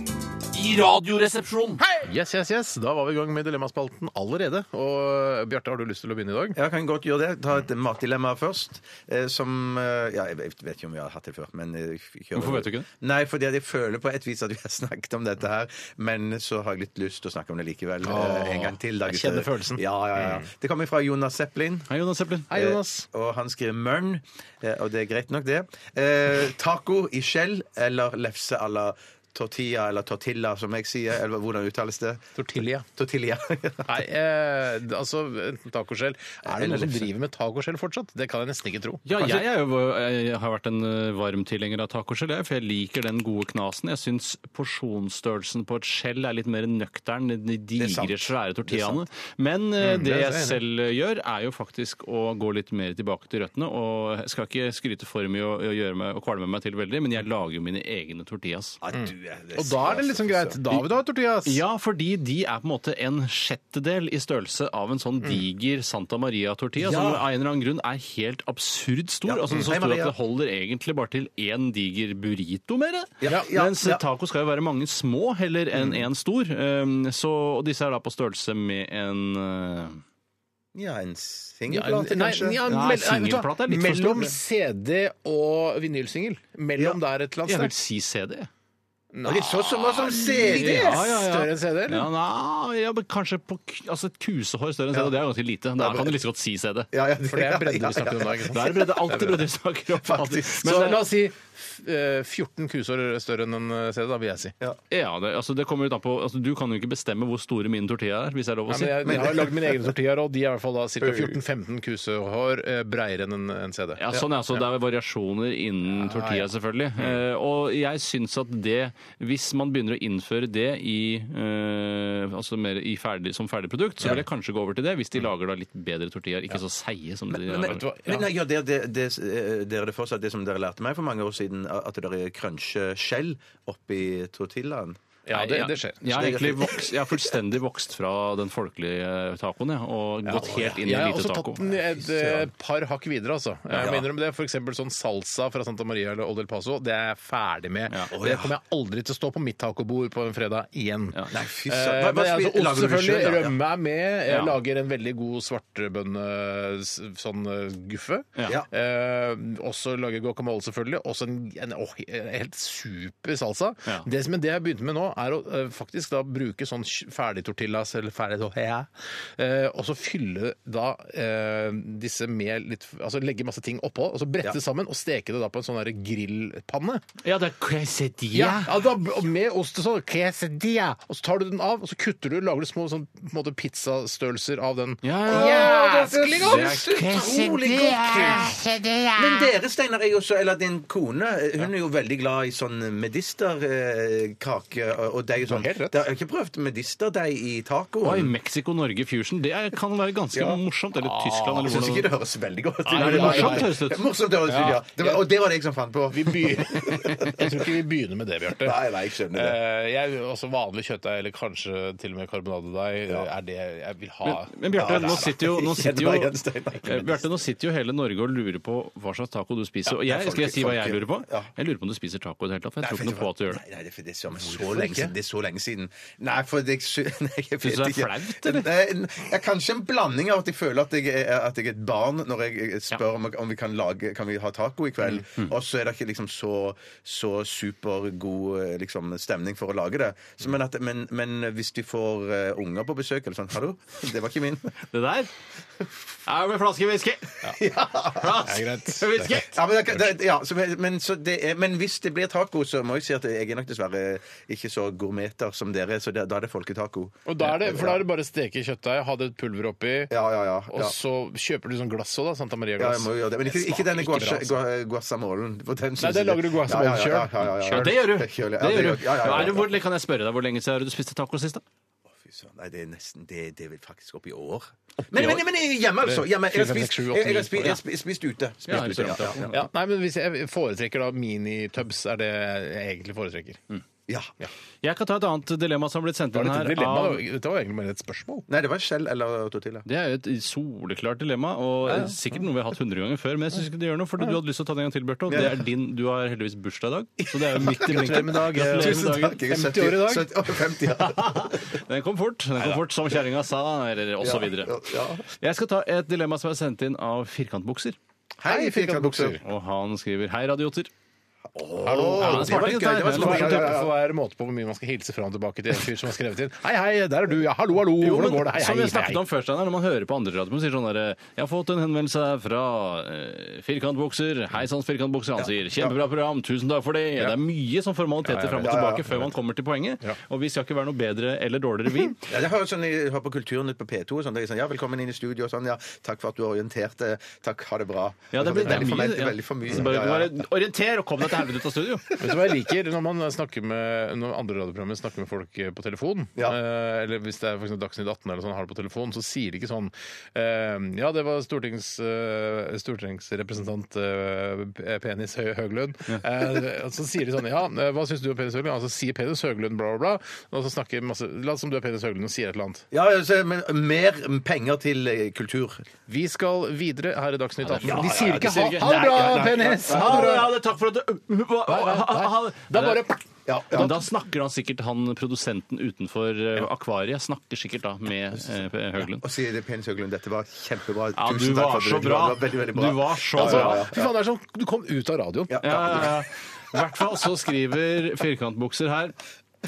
I radioresepsjonen. Yes, yes, yes. Da var vi i gang med dilemmaspalten allerede. Og Bjarte, har du lyst til å begynne i dag? Jeg kan godt gjøre det. Ta et matdilemma først. eh, Som eh, Ja, jeg vet vet ikke om vi har hatt det før, men eh, vi kjører Hvorfor vet du ikke det? Nei, fordi at jeg føler på et vis at vi har snakket om dette her, men så har jeg litt lyst til å snakke om det likevel. eh, en gang til. Da, jeg gutter. kjenner følelsen. Ja, ja, ja. Det kommer fra Jonas Zeppelin. Hei, Jonas Zeppelin. Hei, Jonas. Eh, Og han skriver mørn, eh, og det er greit nok, det. Eh, taco i skjell eller lefse à la tortilla eller tortilla, som jeg sier. Eller hvordan uttales det? Tortilla. Tortilla. Nei, eh, altså enten tacoskjell Er det Eller noen som lefse. driver med tacoskjell fortsatt? Det kan jeg nesten ikke tro. Ja, jeg, er jo, jeg har vært en eh, varm tilhenger av tacoskjell, jeg, for jeg liker den gode knasen. Jeg syns porsjonsstørrelsen på et skjell er litt mer nøktern enn de sant. digre, svære tortillaene. Men eh, det det er jeg jeg selv gjør, er jo faktisk å gå litt mer tilbake til røttene. Og jeg skal ikke skryte for mye og, og, gjøre meg, og kvalme meg til veldig, men jeg lager jo mine egne tortillas. Ja, du er det Og da er det liksom greit. Da vil du ha tortillas. Ja, fordi de er på en måte en sjettedel i størrelse av en sånn diger Santa Maria-tortilla, som av en eller annen grunn er helt absurd stor. Altså Så stor Hei, at Maria. det holder egentlig bare til én diger burrito, mer. Ja, ja, Mens ja. taco skal jo være mange små heller enn én stor. Um, så, og disse er da på størrelse med en uh, Ja, en Ja, singelplate, nei, kanskje? ja, Nei, mell- nei, vet du hva? singelplate er litt for stor. Mellom CD og vinylsingel. Mellom der et eller Jeg vil annet sted. si CD. Nei, så som var som CD! Ja, ja, ja. Større enn CD, eller? Ja, nei, ja, men kanskje på, k- altså et kusehår større enn CD. Det er ganske lite. Da kan du like så godt si CD. Ja, ja, det- For det er bredde ja, vi snakker om da. ikke Det sant? er bredde, alltid bredde vi snakker om. Faktisk. Men, Så eh, la oss si f- eh, 14 kusår større enn en eh, CD, da vil jeg si. Ja, det, altså det kommer ut an på altså Du kan jo ikke bestemme hvor store mine tortilla er, hvis det er lov Nei, å si. men jeg, jeg har lagd mine egne tortillaer, og de er i hvert fall da ca. 14-15 kusehår eh, breiere enn en, en CD. Ja, sånn er, så Det er variasjoner innen tortilla, selvfølgelig. Mm. Eh, og jeg syns at det Hvis man begynner å innføre det i, eh, altså mer i ferdig, som ferdig produkt, så vil jeg kanskje gå over til det, hvis de Mm. lager da litt bedre tortillaer. Ikke så seige som de Vet du lager. hva? Ja. Men nei, gjør dere det, det, eh, dere det fortsatt, det som dere lærte meg for mange år siden, at dere cruncher skjell oppi tortillaen? Ja, det, det skjer. Jeg har, Det er egentlig greit. vokst, jeg har fullstendig vokst fra den folkelige eh, tacoen jeg, og gått helt inn i Jeg har hvite også taco. tatt den et eh, par hakk videre, altså. Jeg må innrømme det. For eksempel sånn salsa fra Santa Maria eller Old El Paso, det er jeg ferdig med. Ja. Det kommer jeg aldri til å stå på mitt tacobord på en fredag igjen. Ja. Nei, fy Eh, søren. Hva- men hva altså, spiser- ost lager du det selvfølgelig. selv, da? Ja. Rømme er med. Jeg Ja. lager en veldig god svartbønne s- sånn eh, guffe. Ja. Eh, også lager guacamole, selvfølgelig. Også en, en, åh, en helt super salsa. Ja. Det som det jeg har begynt med nå, er å eh, faktisk da bruke sånn kj- ferdig tortillas eller ferdig tortilla, eh, og så fylle da eh, disse med litt Altså legge masse ting oppå, og så brette det sammen og steke det da på en sånn der grillpanne. Ja, det er quesadilla. Ja, ja da, og med ost og sånn. Quesadilla. Og så tar du den av, og så kutter du lager du små sånn, på en måte pizzastørrelser av den. Ja, Jæsklig Det godt! er utrolig godt. Men dere, Steinar, er jo så, eller din kone, eh, hun er jo veldig glad i sånn medisterkake og og deig og sånn. helt rett. Dere har ikke prøvd medisterdeig i Oi, tacoen? Mexico-Norge fusion. Det er, kan være ganske morsomt. Eller Tyskland, Ah, eller Jeg syns ikke hvordan det høres veldig godt ut. Nei, det er morsomt, høres det ut. det ut. Morsomt, det høres ut, ja. Det var, og det var det jeg som fant på. Vi begynner. Jeg tror ikke vi begynner med det, Bjarte. Nei, nei, jeg skjønner det. Eh, jeg, også vanlig kjøttdeig, eller kanskje til og med karbonadedeig, er det jeg vil ha. Men Bjarte, Ja, det er nå det. sitter jo, nå Jeg sitter kjenner jo, meg igjen, Steinar. Eh, Bjarte, nå sitter jo hele Norge og lurer på hva slags taco du spiser. Og jeg, skal jeg si hva jeg lurer på? Jeg lurer på om du spiser taco i det hele tatt. for Jeg tror ikke noe på at du gjør det. Nei, nei, det er for det er så, så lenge siden. Det er så lenge siden. Nei, for det, sy- nei, jeg vet Synes du det er ikke. flaut, eller? Nei, jeg er kanskje en blanding av at jeg føler at jeg, er- at jeg er et barn når jeg eh, spør om, om vi kan lage Kan vi ha taco i kveld, Mm, og så er det ikke liksom så, så supergod eh, liksom, stemning for å lage det. Mm. Så, men, at, men, men hvis vi får eh, unger på besøk eller sånn Hallo, det var ikke min. Det der er med flaske whisky! Det er greit. Flaske whisky! Ja, men, det, det, ja, så, men, så det er, men hvis det blir taco, så må jeg si at jeg er nok dessverre ikke så gourmeter som dere, så det, da er det folketaco. Eh, Og da er det, for da er det bare å steke kjøttdeig, ha det pulver oppi, Ja, ja, ja. og ja. så kjøper du sånn glass òg, da. Santa Ja, jeg Maria-glass. må jo gjøre det. Men ikke, ikke denne guasha, gua- guacamolen. for den synes det jeg- lager du guacamole Ja, ja, ja, ja, ja, ja. Ja, det gjør du. Jeg Det kjøler- ja, gjør det du. gjør- ja, ja, Hva ja, er det, ja. hvor, kan jeg spørre deg hvor lenge siden er det du spiste taco sist? da? Fy søren, Nei, det er nesten Det, det er vel faktisk opp i år. Men, men, men hjemme, altså. Hjemme. Jeg Fire, har fem, spist, seks, sju, jeg, åtte, jeg, har ni. spist, jeg har spist, spist ute. Spist Ja, ute, ja, ja, ja. Ja, nei, men hvis jeg foretrekker da minitubs, er det jeg egentlig foretrekker. ja. Jeg kan ta et annet dilemma som har blitt sendt Det var litt inn her. et dilemma, av- da. Dette var egentlig bare et spørsmål. Nei, det var skjell eller tortilla. Det er jo et soleklart dilemma, og sikkert noe vi har hatt hundre ganger før. Men jeg synes ikke det gjør noe, for du hadde lyst til å ta den en gang til, Bjarte. Og det er din, du har heldigvis bursdag i dag, så det er jo midt i Gratulerer med dag. Gratulerer med Tusen eh, dagen. Takk, jeg er 50 år i dag. 70, 50, ja. Den kom fort, den kom fort som kjerringa sa, eller og så videre. ja. Jeg skal ta et dilemma som er sendt inn av Firkantbukser. Hei, firkantbukser. Og han skriver Hei, radioter. Hallo. Ja, det det var smarte litt gutter, gøy. Det var det smarte smarte gutter. For hver måte på hvor mye man skal hilse fram og tilbake til en fyr som har skrevet inn. Hei, hei, der er du. Ja, hallo, hallo. Jo, Hvordan men går det? Hei, som hei, jeg snakket hei. om først, Steinar, når man hører på andre radioer sier sånn derre 'Jeg har fått en henvendelse her fra eh, Firkantbukser'. Hei sann, Firkantbukser. Han sier 'Kjempebra program. Tusen takk for det'. Det er mye sånn formaliteter fram og tilbake før man kommer til poenget. Og vi skal ikke være noe bedre eller dårligere, vi. Ja, jeg hører sånn, jeg hører på Kulturnytt på P2 og sånn. Det er sånn, ja, velkommen inn i studio og sånn. Ja, takk for at du orienterte. Takk, ha det bra. Ja, det Sånn, blir det er mye. veldig formelt, ja. veldig for mye. Så bare, Ja, ja. bare orienter og kom deg til helvete ut av studio. Vet du hva jeg liker når man snakker med Når andre radioprogrammer snakker med folk eh, på telefon? Ja. eh, Eller hvis det er for eksempel Dagsnytt 18 eller sånn, har det på telefon, så sier de ikke sånn eh, Ja, det var stortings, eh, stortingsrepresentant eh, Penis Hø Høglund. Eh, og Så sier de sånn Ja, eh, hva syns du om Penis Høglund? Altså sier Penis Høglund bla, bla, bla. Og så snakker masse La oss som du er Penis Høglund og sier et eller annet. Ja, altså, men mer penger til eh, kultur. Vi skal videre her i Dagsnytt 18. Ja, de ja, sier ja, ikke de ha, sier ikke- ha det bra, Nei, nei, nei. penis! Ha det, ha det, takk for at du Hva- Nei, ha- ha- ha nei. det. Det er bare Ja, Ja, ja. men da snakker han sikkert han produsenten utenfor eh, akvariet snakker sikkert da med eh, Høglund. Og si det Penis Høglund, dette var kjempebra. Ja, du Tusen takk var for så det. bra. Det var veldig, veldig bra. Du var så Ja, ja, bra. ja. altså, Fy faen, det er som du kom ut av radioen. Ja, Ja, ja. ja, ja. I hvert fall så skriver Firkantbukser her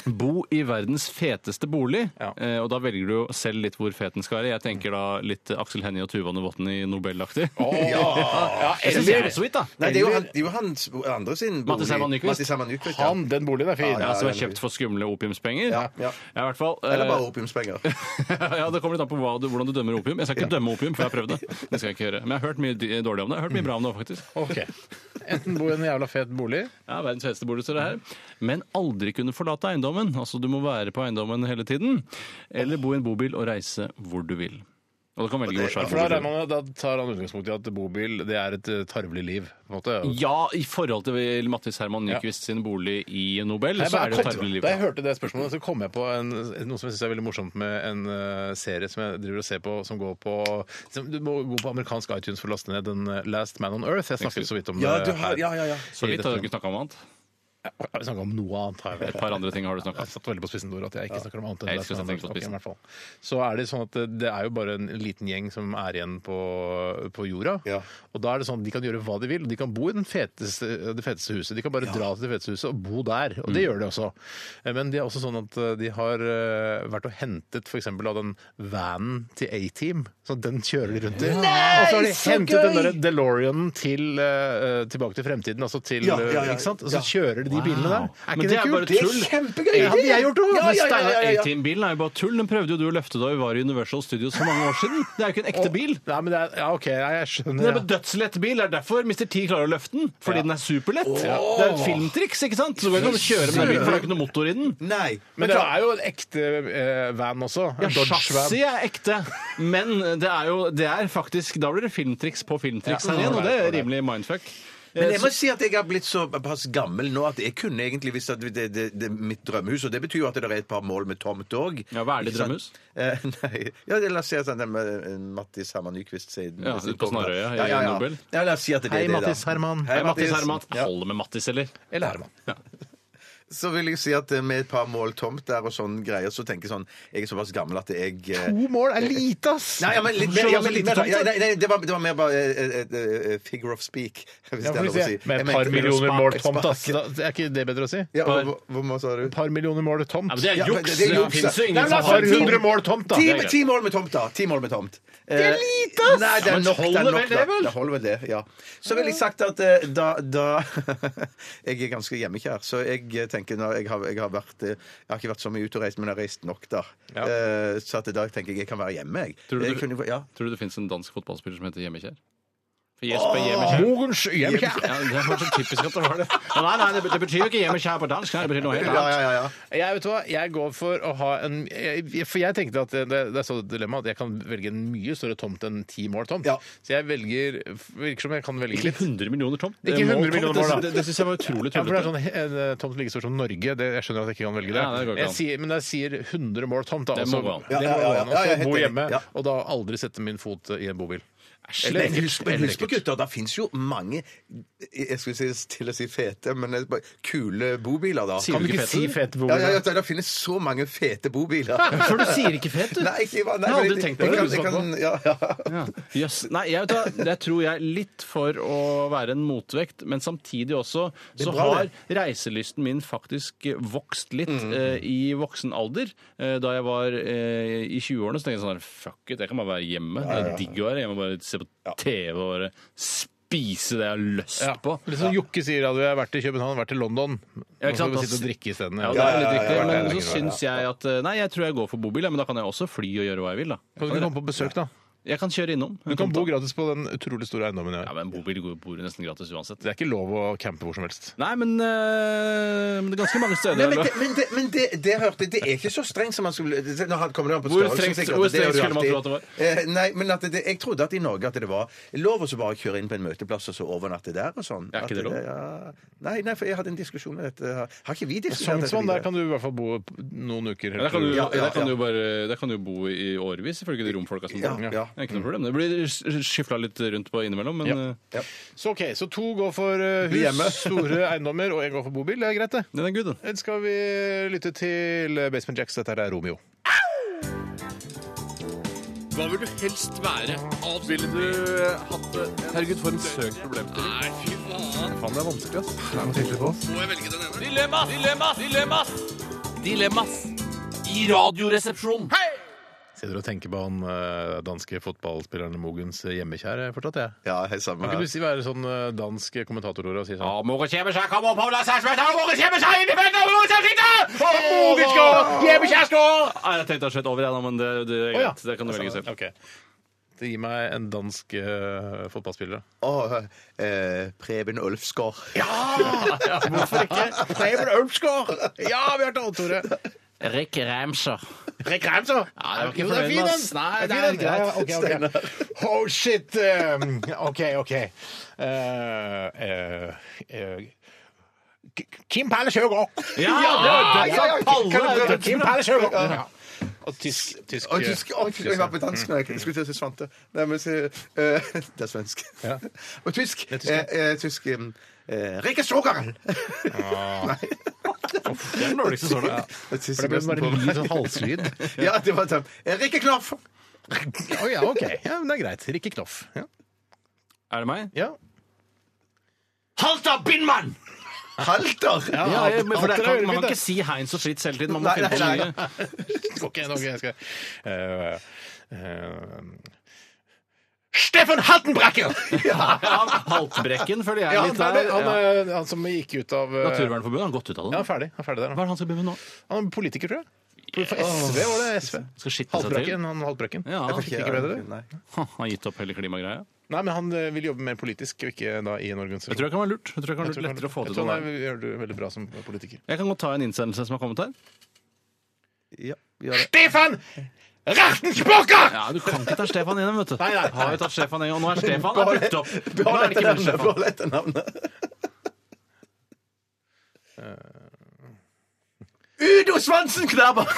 Bo i verdens feteste bolig. Ja. Eh, og da velger du jo selv litt hvor fet den skal være. Jeg tenker da litt Aksel Hennie og Tuva Novotny i Nobel-aktig. Ja, Jeg synes det er så vidt, da. Nei, det er jo, han, det er jo hans andre sin bolig. Mattis Herman Nyquist. Mattis Herman Nyquist, ja. Han, den boligen er fin. Ja, som er det er kjøpt for skumle opiumspenger. Ja, ja. i hvert fall. eh, Eller bare opiumspenger. ja, Det kommer litt an på hva du, hvordan du dømmer opium. Jeg skal ikke dømme opium, for jeg har prøvd det. Det skal jeg ikke gjøre. Men jeg har hørt mye d- dårlig om det. Jeg har hørt mye bra om det, faktisk. Ok. Enten bo i en jævla fet bolig Ja, verdens feteste bolig står det her. Men aldri kunne forlate eiendommen. Altså, du må være på eiendommen hele tiden. Eller bo i en bobil og reise hvor du vil. Og du kan velge hvor svær For da, regner bobil du vil. man, jo- da tar han utgangspunkt i at bobil det er et eh, tarvelig liv. På en måte. Ja, i forhold til Mattis Herman Nyquist sin bolig i Nobel, Jeg så bare er det jo kom- tarvelig liv. Da jeg hørte det spørsmålet, så kom jeg på en, noe som jeg syns er veldig morsomt med en eh, serie som jeg driver og ser på, som går på som, Du må gå på amerikansk iTunes for å laste ned den eh, Last Man on Earth. Jeg snakket så vidt om Ja, det. du har, her. ja, ja, ja. Så vidt har du ikke snakka om annet. Har vi snakket om noe annet? Har jeg Et vel? par andre ting har du snakka Jeg om. satt veldig på spissen Dora, at jeg ikke snakker om annet enn Jeg det. elsker å som sette ting er- på ok, i spissen. hvert fall. Så er det sånn at det- det er jo bare en liten gjeng som er igjen på, på jorda. Ja. Og da er det sånn de kan gjøre hva de vil. og De kan bo i den feteste, det feteste huset. De kan bare dra til det feteste huset og bo der. Og det Mm. gjør de også. Eh, Men de er også sånn at eh, de har eh, vært og hentet f.eks. av den vanen til A-Team. Så den kjører de rundt i. og så har de hentet den der DeLoreanen til, eh, tilbake til fremtiden, altså til Ja, ja, ja. eh, Ikke sant? Og så Ja. kjører de de bilene der. Er Men ikke det det er bare kult? tull. Kjempegøy! Det hadde jeg gjort også. Ja, Men ja, ja, Steinar, ja, ja, ja. A-Team-bilen er jo bare tull. Den prøvde jo du å løfte da vi var i Universal Studios for mange år siden. Det er jo ikke en ekte bil. Nei, men det er, ja, OK, jeg, jeg skjønner. Den er ja. med dødslett bil. Det er derfor Mr. T klarer å løfte den. Fordi den er superlett. Det er et filmtriks, ikke sant? Så du kan ikke kjøre med den bilen, for det er ikke noe motor i den. Nei. Men det er jo en ekte eh, van også. En Ja, Chassis er ekte, men det er jo det er faktisk Da blir det filmtriks på filmtriks her igjen, og det er rimelig mindfuck. Men Eh, jeg må si at jeg har blitt såpass gammel nå at jeg kunne egentlig visst at det er mitt drømmehus. Og det betyr jo at det er et par mål med tomt òg. Ja, hva er det drømmehus? Eh, nei ja, La oss si at det er med eh, Mattis Herman Nyquist sin Ja, sin ute på kong, da. Snarøya i Ja, ja, ja. Nobel. Ja, la oss si at det er Hei, det, da. Mattis Herman. Hei, Mattis Herman. Ja. Holder med Mattis, eller? Eller Herman. Så vil jeg si at eh, med et par mål tomt der og sånn greier, så tenker jeg sånn Jeg er såpass gammel at jeg eh, To mål er lite, ass! Nei, ja, men litt mer, ja, men litt mer ja, nei, nei, det, var, det var mer bare eh, eh, eh, figure of speak. Hvis Ja, det er får vi lov å se. si. Med Jeg et par mente- millioner spark- mål tomt, spark. ass. Da, er ikke det bedre å si? Ja, hvor, hvor- hvor mye sa du? Et par millioner mål tomt. Ja, men det er Ja, men juks! det- Det, det er juks, finnes jo ja. ingen Nei, som men altså, har et par hundre mål tomt, da! Ti, Det er greit. ti mål med tomt, da. Ti mål med tomt. det er lite, ass! Nei, det Ja, er men nok. Det, holder er vel nok, det, da. vel? det holder vel det, ja. Så ville jeg sagt at eh, da, da Jeg er ganske hjemmekjær, så jeg eh, tenker når jeg har, jeg har vært eh, Jeg har ikke vært så mye ute og reist, men jeg har reist nok, da. Ja. Eh, Så at i dag tenker jeg jeg kan være hjemme, jeg. Tror du jeg du- kunne, ja. Tror du det finnes en dansk fotballspiller som heter Hjemmekjær? For Jesper Hjemmekjær. Mogens Hjemkjær. Ja, det var så typisk at det var det. Nei, nei, det, det betyr jo ikke Hjemmekjær på dansk. Nei, det betyr noe helt Ja, annet. ja, ja, ja. Jeg vet du hva, jeg går for å ha en jeg, For jeg tenkte at det, det er så dilemma at jeg kan velge en mye større tomt enn ti mål tomt. Ja. Så jeg velger Virker som jeg kan velge Ikke litt. 100 millioner tomt. Ikke Det er 100 målt millioner tomt. mål, da. Det, det, det syns jeg var utrolig Ja, for det tullete. er sånn en eh, tomt like stor som Norge. Det, jeg skjønner at jeg ikke kan velge det. Ja, det går ikke jeg, an. sier, men jeg sier 100 mål tomt, da. Det altså. må gå an. Det Ja, må ja, gå ja. an. Ja, jeg er Altså, bo helt enig. hjemme, Ja. og da aldri sette min fot i en bobil. Eller, lekkert. husk, men Eller husk på lekkert. gutter, det fins jo mange Jeg skulle si, til å si fete, men bare kule bobiler, da. Sier du ikke fete? fete Ja, ja, ja, det, det finnes så mange fete bobiler. For du sier ikke fet, du. Nei, Jeg ikke, nei, har men aldri jeg- tenkt på jeg det. kan- jeg kan- ja, ja. Ja. Jøss. Nei, jeg, vet, hva, jeg tror jeg er litt for å være en motvekt, men samtidig også er så bra, har det. reiselysten min faktisk vokst litt eh, i voksen alder. Eh, da jeg var eh, i 20-årene, så tenkte jeg sånn her, fuck it, jeg kan bare være hjemme. Det er digg å være hjemme og bare se på TV og bare spise det jeg har lyst Ja. på. Litt sånn Jokke sier at du har vært i København, vært i London. Ja, ikke sant, Og så ass. sitte og drikke isteden. Ja. Ja, det er ja, litt ja, riktig, ja, ja, men ja, så syns jeg at eh, Nei, jeg tror jeg går for bobil, ja, men da kan jeg også fly og gjøre hva jeg vil, da. Kan du ikke komme på besøk, da? Jeg kan kjøre innom. Du kan bo gratis på den utrolig store eiendommen. Ja, Ja. men bobil går- bor jo nesten gratis uansett. Det er ikke lov å campe hvor som helst. Nei, men eh, men det er ganske mange steder. Nei, men eller? det, men det, men det, det hørte jeg, det er ikke så strengt som man skulle det- Nå kommer det an på Hvor størrelsen, strengt- sikkert, hvor og det gjør strengt du skulle man tro at alltid. Eh, nei, men at det, jeg trodde at i Norge at det var lov å så bare kjøre inn på en møteplass og så overnatte der og sånn. Er ikke At det lov? ja. nei, nei, for jeg hadde en diskusjon med dette. her. Har ikke vi Sånn- diskutert dette? Sognsvann, der videre? kan du i hvert fall bo noen uker. Ja, Der kan, du, Ja, ja, der kan ja. du jo bare, der kan du jo bo i årevis, ifølge de romfolka som Ja, bor der. ja. Det er ikke noe problem. Det blir skifla litt rundt på innimellom, men Ja. eh, Så ok, så to går for eh, Bli hjemme. hus, store eiendommer, og én går for bobil. Det er greit, det. den er good, den. Ellers skal vi lytte til eh, Basement Jacks. Dette her er Romeo. Hva vil du helst være? Ville du hatt det? Herregud, for en søk problemstilling. Nei, fy faen. Faen, det er vanskelig, ass. Det er noe tydelig på. Må jeg velge den ene? Dilemmas! Dilemmas! Dilemmas! Dilemmas! I radioresepsjonen. Sitter og tenker på han eh, danske fotballspilleren Mogens eh, hjemmekjære fortsatt, jeg. Ja, hei, samme Kan ikke her. du si være sånn eh, dansk kommentator og si sånn Mogen kommer seg, kom opp, Ola Sæsberg, Mogen kommer seg inn i feltet, og Mogen kommer seg inn! Mogens skår! Hjemmekjær skår! Nei, jeg tenkte jeg sett over, jeg, da, men det, det, er Å, ja. greit. det kan du velge selv. Ok. Det gir meg en dansk eh, fotballspiller. Å, eh, Preben Ulfsgaard. Altså, Hvorfor ikke? Preben Ulfsgaard! Ja, Bjarte Odd Tore. Rick Ramser. Rekk reim, så! Ja, det var ikke Jo, fornøyd, fin, den. ass. Nei, Det det er fin, den. Ja, ja, ok, ok. Oh, shit! um, OK, OK. Eh, eh, eh, Kim Palace Høgård! Ja, det var ja, det. ja, Palle, kan du- det er Kim Palace Høgård! Ja. Og tysk, tysk, Å, tysk, å, tysk, jeg var på dansk nå. Jeg skulle til å si Svante. Nei, men si, eh, det er svensk. Og tysk. er tysk, eh, eh, tysk eh, Rikke Strogarl! Ah. Det er den dårligste sånn. Ja. Det er tysk For det ble nesten bare på en meg. liten sånn halslyd. Ja, det var dem. Rikke Knoff! Å ja, OK. Ja, men det er greit. Rikke Knoff. Ja. Er det meg? ja. Halta Bindmann! Halter! Ja, ja, men for Halter det er kan, ørefint, man kan det. ikke si Heinz og Fritz hele tiden. Man må Nei, finne på nei, noe nye. OK, nå skal jeg skal, eh, eh, Steffen Hattenbracker! Ja, Haltbrekken føler jeg Ja, er han, litt ferdig, der. han, Ja. eh, han som gikk ut av eh, Naturvernforbundet, han har gått ut av Ja, han det. er nå. ferdig. Han er ferdig der. nå. Hva er det han skal begynne med nå? Han er politiker, tror jeg. For SV var det. SV. Skal skitne seg til. Haltbrekken. Han Haltbrekken. Ja, jeg fikk ikke med det. Nei. Han har gitt opp hele klimagreia. Nei, men han eh, vil jobbe mer politisk, og ikke da i en organisasjon. Jeg tror det kan være lurt. Jeg tror det kan være lurt lettere å få jeg det tror til. å han være- er- gjør det veldig bra som politiker. Jeg kan godt ta en innsendelse som har kommet her. Ja, gjør det. Stefan Rachtensbacher! Ja, Du kan ikke ta Stefan igjen, vet du. Nei, nei. Har jo tatt Stefan igjen, og nå er Stefan er brukt opp. Nå er Behold det ikke mer Stefan. etternavnet, behold etternavnet. Eh. Udo Svansenknabber!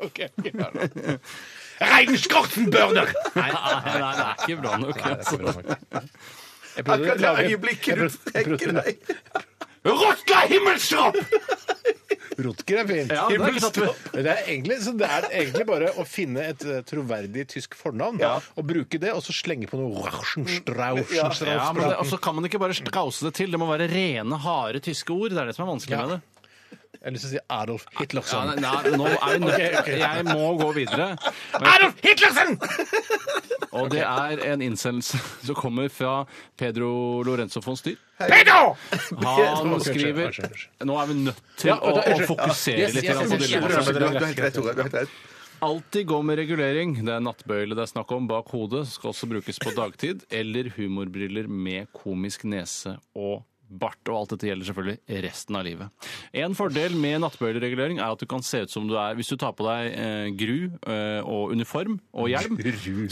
Okay, okay, ja, da. Rein Skortenbørner! Nei, nei, nei, det er ikke bra nok. altså. Jeg prøvde å Akkurat det lage en øyeblikket du jeg prøvde- trekker deg. Rotla himmelstropp! Rotker er fint. Ja, det er ikke sant. Men det, er egentlig, så det er egentlig bare å finne et eh, troverdig tysk fornavn og bruke det, og så slenge på noe Rauschenstrausch. Ja, men det, altså kan man ikke bare strause det til. Det må være rene, harde tyske ord. Det er det som er vanskelig Ja. med det. Jeg har lyst til å si Adolf Ja, Hitlerson. nei, nei, nå er jeg, nødt, Ok, ok. jeg må gå videre. Adolf Hitlersen! Og det er en innsendelse som kommer fra Pedro Lorenzo von Styr. Pedo! Han Unnskyld, skriver unnskyld, unnskyld. Nå er vi nødt til å, å fokusere Yes, litt yes, grann på unnskyld, Du dilemmaet. unnskyld. har helt rett, Tore. Du har helt rett. Alltid gå med regulering. Det er nattbøyle det er snakk om bak hodet. Skal også brukes på dagtid. Eller humorbriller med komisk nese og bart, og alt dette gjelder selvfølgelig resten av livet. En fordel med nattbøyleregulering er at du kan se ut som du er Hvis du tar på deg eh, gru eh, og uniform og hjelm,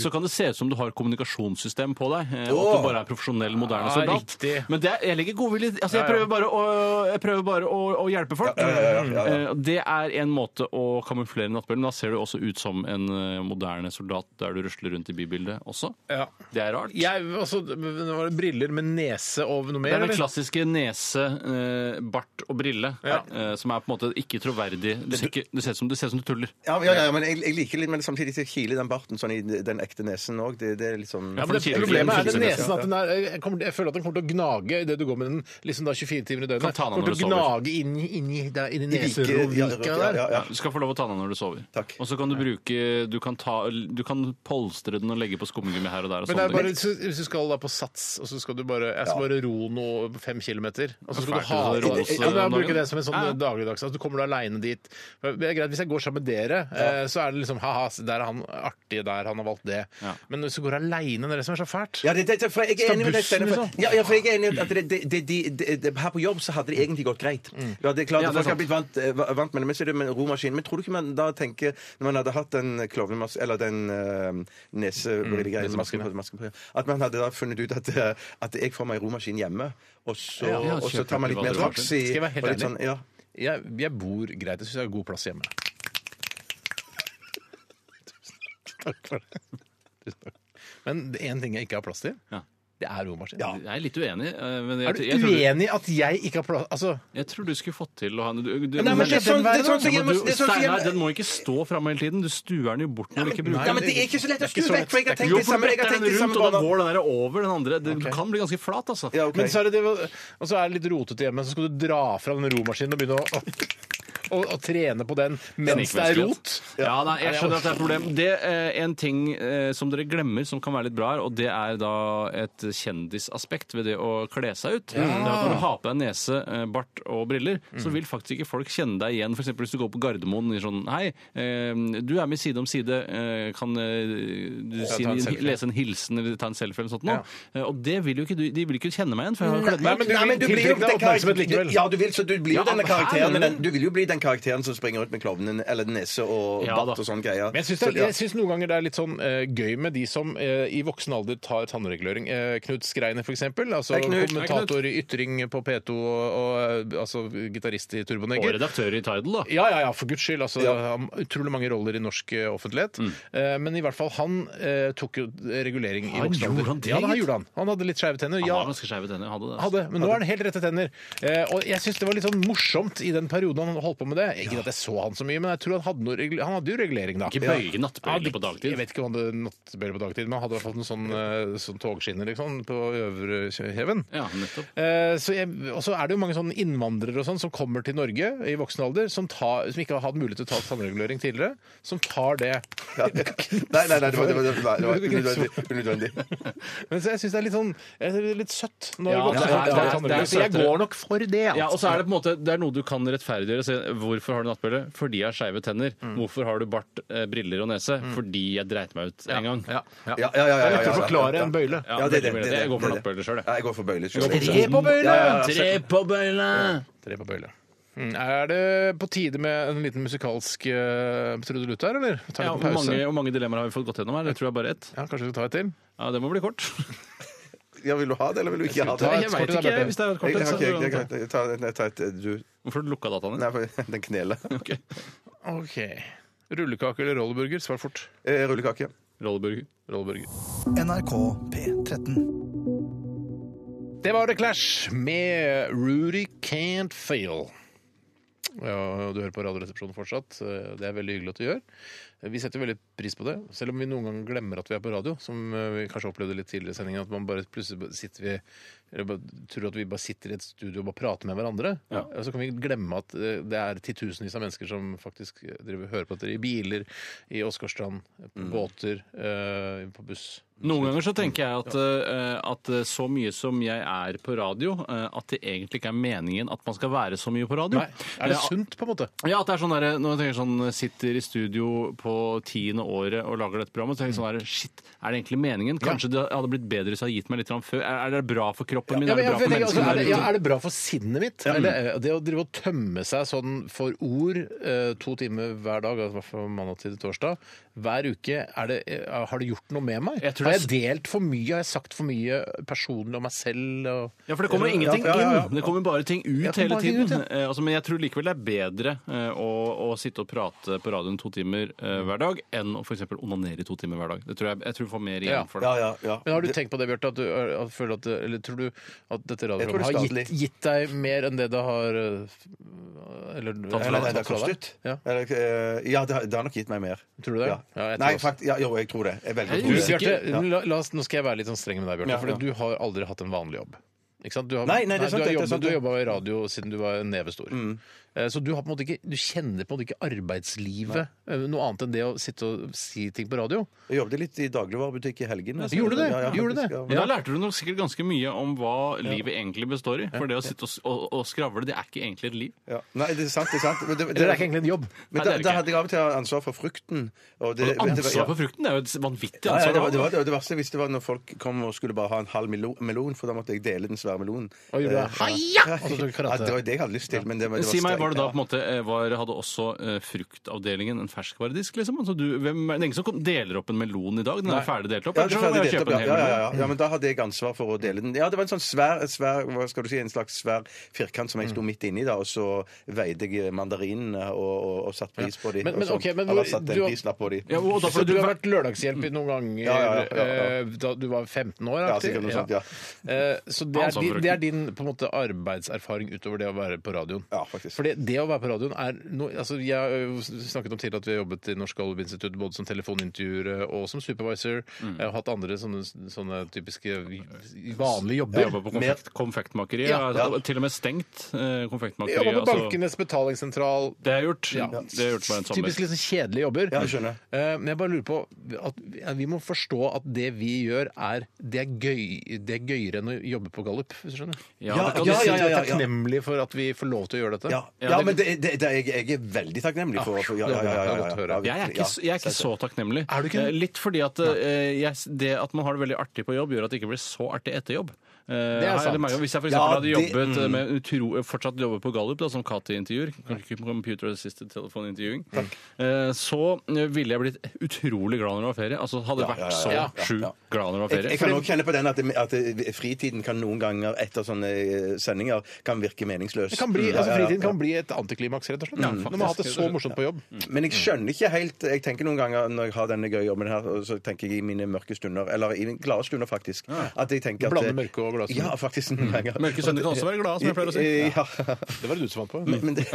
så kan det se ut som du har kommunikasjonssystem på deg, eh, og at du bare er en profesjonell, moderne Ja, soldat. riktig. Men det er, jeg legger godvilje altså, jeg Ja, ja. prøver bare å, jeg prøver bare å, å hjelpe folk. Eh, Det er en måte å kamuflere nattbølgen. Da ser du også ut som en eh, moderne soldat der du rusler rundt i bybildet også. Ja. Det er rart. Jeg, altså, det var det briller med nese og noe det mer? er den eller? klassiske nese, eh, bart og brille, Ja. eh, som er på en måte ikke troverdig. Du ser, ikke, du ser ut som, det ser ut som du tuller. Ja, ja, ja, men jeg, jeg liker litt, men samtidig så kiler den barten sånn i den ekte nesen òg. Det, det er litt sånn Ja, for men det det kiler Problemet ikke er den den nesen at den er, jeg, kommer, jeg føler at den kommer til å gnage idet du går med den liksom da 24 timer i Kan døgnet. ta den Kommer når til å du sover. gnage inn, i- inn i, der, inn i I like- ja, neserotvikene ja, der. ja, ja. Du skal få lov å ta den når du sover. Takk. Og så kan du bruke Du kan, ta, du kan polstre den og legge på skumgummi her og der. Og Men det sånne er bare, ting. så- hvis du skal da på sats, og så skal du bare, jeg skal bare ro noe fem kilometer, og så skal du Fælt, ha det ja, er ros, men eh, Jeg om bruker dagen. det som en sånn Ja. dagligdags at Du kommer da aleine dit. Det er greit, Hvis jeg går sammen med dere, eh, så er det liksom ha-ha, se, der er han artig der, han har valgt det. Ja. Men hvis du går aleine, det er det som er så fælt. Ja, det, det, for jeg er enig med deg, bussen, Steinar. for- liksom? Ja, ja, for jeg er enig i at det, det, det, det, det, Her på jobb så hadde det egentlig gått greit. Ja, det er klart Ja, at det er Folk har blitt vant, eh, vant med det, men så er det med romaskin. Men tror du ikke man da tenker, når man hadde hatt den klovnemask... Eller den uh, nesebrillegreien masken på- masken på, At man hadde da funnet ut at, eh, at jeg får meg romaskin hjemme, og så, Ja, ja, og så kjøper tar man litt privat mer rocks i Skal jeg være helt og litt ærlig? sånn, ja. Jeg, jeg bor greit. Jeg syns jeg har god plass hjemme. Takk for det. Tusen takk. Men det er én ting jeg ikke har plass til, Ja. det er romaskin. Jeg er litt uenig. eh, Men jeg, Er du tror- jeg, tror du, uenig i at jeg ikke har plass Altså, jeg tror du skulle fått til å ha en du, du, Nei, men det er sånn- det er sånn som Ja, hjemme- men du, det er sånn som Steinar, den hjemme- må ikke stå framme hele tiden. Du stuer den jo bort når du ikke bruker Ja, den. men det er ikke så lett å ikke skru så lett. vekk, for jeg har tenkt Jo, det for samme. du Jeg har bretter tenkt den det samme rundt, og da banen. går den der over den andre. Det kan bli ganske flat, altså. Ja, ok. men så er det det, og så er det litt rotete hjemme, så skal du dra fra den romaskinen og begynne å, å, å, å trene på den mens det er rot. Ja, nei, jeg skjønner at det er et problem. Det er en ting eh, som dere glemmer som kan være litt bra her, og det er da et kjendisaspekt ved det å kle seg ut. Det er at Når du har på deg nese, eh, bart og briller, så vil faktisk ikke folk kjenne deg igjen. F.eks. hvis du går på Gardermoen og sier sånn Hei, eh, du er med side om side. eh, Kan eh, du si, ta en selfie. lese en hilsen eller ta en selfie eller noe sånt? nå?» Eh, Og det vil jo ikke du De vil ikke kjenne meg igjen, for jeg har jo kledd meg Nei, ut. men du vil tiltrekke deg den karakter- oppmerksomhet likevel. du- Ja, du vil, så du blir jo Ja, denne men her karakteren. mener men du- du vil jo bli den karakteren som springer rundt med klovnen eller nese og Ja, bart da. og sånn greier. Men jeg syns, Så det, ja. er- jeg syns noen ganger det er litt sånn eh, gøy med de som eh, i voksen alder tar tannregulering. Eh, Knut Skreiner, for eksempel. Altså Hei, Knut. kommentator i Ytring på P2 og, og eh, altså, gitarist i Og Turboneger. redaktør i Tidal, da. Ja, ja, ja, for guds skyld. Altså, han har Utrolig mange roller i norsk eh, offentlighet. Eh, men i hvert fall han eh, tok jo regulering i Han voksen gjorde alder. han det, ja, da, han gitt? gjorde han. Han hadde litt skeive tenner. Han Ja, har ganske skeive tenner. Hadde det. altså. hadde, men nå er han helt rette tenner. Eh, og jeg syns det var litt sånn morsomt i den perioden han holdt på med det. Ikke at jeg så han så mye, men jeg tror han hadde, noe, regul- han hadde jo regulering da. Ikke bøye nattbøyler Ja, på dagtid. Jeg vet ikke om han hadde nattbøyler på dagtid, men han hadde i hvert fall noen sånn, eh, sånn togskinner liksom, på øvre heven. Ja, nettopp. Eh, så jeg- Og så er det jo mange sånne innvandrere og sånn som kommer til Norge i voksen alder, som, tar, som ikke har hatt mulighet til å ta tannregulering tidligere, som tar det. Nei, nei, nei, det var, det var, det var, det var unødvendig. unødvendig. Men så jeg syns det er litt sånn jeg synes det er litt søtt når Ja, voksne det er- folk tar det er- det er tannregulering. Så jeg søtere. går nok for det. altså. Ja, og så er det på en måte Det er noe du kan rettferdiggjøre. Se, hvorfor har du nattbølle? Fordi jeg har skeive tenner. Hvorfor har du bart, eh, briller og nese? Fordi jeg dreit meg ut en gang. Ja, ja. Ja, Det ja, ja, ja, er ja, lettere å ja, forklare ja. enn bøyle. Ja, Ja, det er det, veldig mye. det er det, Jeg går det for er det. nattbøller sjøl, Ja, jeg. jeg går for bøyler. Tre på bøyle! Tre på bøyle! Tre på bøyle. Mm, Er det på tide med en liten musikalsk uh, trudelutt her, eller? Vi tar Ja, litt hvor, pause. mange, hvor mange dilemmaer har vi fått gått gjennom her? Jeg tror jeg bare ett. Ja, kanskje vi tar et til? Ja, Det må bli kort. Ja, vil du ha det, eller vil du ikke ha det? ta Jeg, et Jeg kort veit til deg, ikke. Bjarte. jeg, Hvis det er et jeg, kort, jeg, så jeg, jeg, er det- jeg, tar- jeg tar et du Hvorfor har du lukka dataene? Nei, for- den kneler. Okay. OK. Rullekake eller rolleburger? Svar fort. Eh, Rullekake. Rolleburger. Rolleburger. NRK P13. Det var The Clash med Rudy Can't Fail. Ja, og Du hører på Radioresepsjonen fortsatt. Eh, Det er veldig hyggelig at du gjør. Eh, Vi setter veldig pris på det, selv om vi noen ganger glemmer at vi er på radio. Som eh, vi kanskje opplevde litt tidligere i sendingen, at man bare plutselig bare sitter vi eller bare, tror at vi bare sitter i et studio og bare prater med hverandre. Ja. Og så kan vi glemme at eh, det er titusenvis av mennesker som faktisk driver, hører på dette i biler, i Åsgårdstrand, på Mm. båter, eh, på buss. Noen ganger så tenker jeg at, eh, at eh, så mye som jeg er på radio, eh, at det egentlig ikke er meningen at man skal være så mye på radio. Nei. Er det Eh, sunt, på en måte. Ja, at det er sånn der, når jeg tenker sånn, sitter i studio på tiende året og lager dette programmet, så tenker jeg sånn der, shit, er det egentlig meningen? Kanskje det hadde blitt bedre hvis jeg hadde gitt meg litt grann før? Er, er det bra for kroppen min? Ja, men jeg Er det bra for tenker, altså, menneskene er, det, der ja, ute? er det bra for sinnet mitt? Eller, eh, det å drive og tømme seg sånn for ord eh, to timer hver dag, altså i hvert fall mandag til torsdag, hver uke, er det, eh, har det gjort noe med meg? Jeg tror har jeg det delt for mye? Har jeg sagt for mye personlig om meg selv? Og... Ja, for det kommer ingenting ja, ja, ja. inn. Det kommer bare ting Ja, det ut kommer hele bare ting tiden. ut, ja. Eh, altså, men jeg tror likevel det er bedre eh, å, å sitte og prate på radioen to timer eh, hver dag enn å f.eks. onanere i to timer hver dag. Det tror jeg, jeg tror du får mer igjen Ja. for det. Ja, ja, ja. Men har du tenkt på det, Bjarte? At du er- at føler at, det- eller tror du at dette Jeg tror det radioprogrammet er har skadelig. gitt, gitt deg mer enn det det har eh, Eller Nei, eller- nei, det har tatt fra deg? kostet. Ja. Eller, eh, Ja, det har, det har nok gitt meg mer. Tror du det? Ja. Ja, jeg tror Nei, også. fakt, ja, jo, jeg tror det. Jeg velger å Du, tro det. Bjarte, Ja. la, la oss, nå skal jeg være litt sånn streng med deg, Bjarte. Ja, For ja. du har aldri hatt en vanlig jobb. Ikke sant? Du har, Nei, nei, det er sant, du, har det er Mm. jobbet- sant, du har det. jobba i radio siden du var en neve stor. Eh, Så du, har på en måte ikke, du kjenner på en måte ikke arbeidslivet eh, noe annet enn det å sitte og si ting på radio. Jeg jobbet litt i dagligvarebutikk i helgen. altså. Gjorde du det? Ja, ja, Gjorde du det? faktisk, ja. Men da lærte du nok sikkert ganske mye om hva livet egentlig består i. For det å sitte og, s- og, og skravle, det er ikke egentlig et liv. Ja. Nei, det er sant. det er sant. Men, det, Eller det er ikke egentlig en jobb. Nei, men da, det er det da ikke. hadde jeg av og til ansvar for frukten. Og Eh, det, Ansvar for frukten det er jo et vanvittig Ja, ja, ansvar. det, var, det, var, det, verste hvis det var når folk kom og skulle bare ha en halv melo- melon, for da måtte jeg dele den svære melonen. Og gjorde det. Eh, Heia! ja. Og så tok Ja, karate. det var det jeg hadde lyst til. Men det, var- det var Si meg, var det da strengt. på en måte eh, var, Hadde også eh, fruktavdelingen en ferskvaredisk, liksom? Altså, du, hvem, er det ingen som kom- deler opp en melon i dag? Den er ferdig delt opp? Ja, eller det skal er sånn jeg ferdig delt kjøpe opp, en ja, hel ja, ja, melon? ja. ja, men da hadde jeg ansvar for å dele den. Ja, det var en sånn svær, svær hva skal du si, en slags svær firkant som jeg sto midt inni, da, og så veide jeg mandarinene og, og, og satte pris på dem. Men- men, ok, men hvor- Eller satte du en har- prislapp på dem. Ja, og da Så får du du, har vært lørdagshjelp i noen ganger Ja, ja, ja, ja, ja. eh, da du var 15 år? Ja, aktig? sikkert noe sånt, ja. Eh, Så det Han er, sa din, frukten. det er din på en måte, arbeidserfaring utover det å være på radioen? Ja, faktisk. For det, det å være på radioen er noe altså, Jeg har jo snakket om tidligere at vi har jobbet i Norsk Gallup-institutt både som telefonintervjuer eh, og som supervisor. Mm. Jeg har hatt andre sånne, sånne typiske vanlige Jeg jobber. jobber på konfekt, konfektmakeri. Ja, jeg har Til og med stengt eh, konfektmakeri. Jeg jobber på altså. Bankenes betalingssentral. Det har jeg gjort. Ja. Det har jeg gjort på en sommer. Typisk litt sånn kjedelige jobber. Ja, jeg skjønner. Eh, Men jeg bare lurer på at ja, Vi må forstå at det vi gjør, er det er, gøy, det er gøyere enn å jobbe på Gallup. Hvis du skjønner? Ja, Ja, det kan Kan du du si. si at du ja, er ja. takknemlig for at vi får lov til å gjøre dette? Ja, ja men det, det, det, jeg, jeg er veldig takknemlig for, for ja, ja, ja, ja, ja, ja, Jeg er, ikke, ja. jeg er ikke så takknemlig. Er du ikke det? Eh, Litt fordi at eh, jeg, det at man har det veldig artig på jobb, gjør at det ikke blir så artig etter jobb. Eh, Det er her sant. meg jo. Hvis jeg for Ja, eksempel hadde det- mm. jobbet eh, med utro, fortsatt jobbet på Gallup da, som KT-intervjuer, Computer Assisted Telephone Interviewing, eh, så eh, ville jeg blitt utrolig glad når det var ferie. Altså hadde Ja, ja, ja, vært så ja, ja, sjukt ja. glad når det var Jeg, ferie. jeg kan også kjenne på den at, at fritiden kan noen ganger etter sånne eh, sendinger kan virke meningsløs. Det kan bli, Ja, ja, altså ja, Fritiden ja. kan bli et antiklimaks, rett og slett. Når man har hatt det så morsomt på jobb. Men Mm. jeg skjønner ikke helt Jeg tenker noen ganger når jeg har denne gøye jobben her, og så tenker jeg i mine mørke stunder, eller i mine glade stunder, faktisk at jeg tenker at, Blander mørke og glade stunder. Ja, faktisk. Noen ganger. Mm. Mørke sønner kan også være glad, som jeg pleier å si. Ja. Det var det du som vant på. Men det,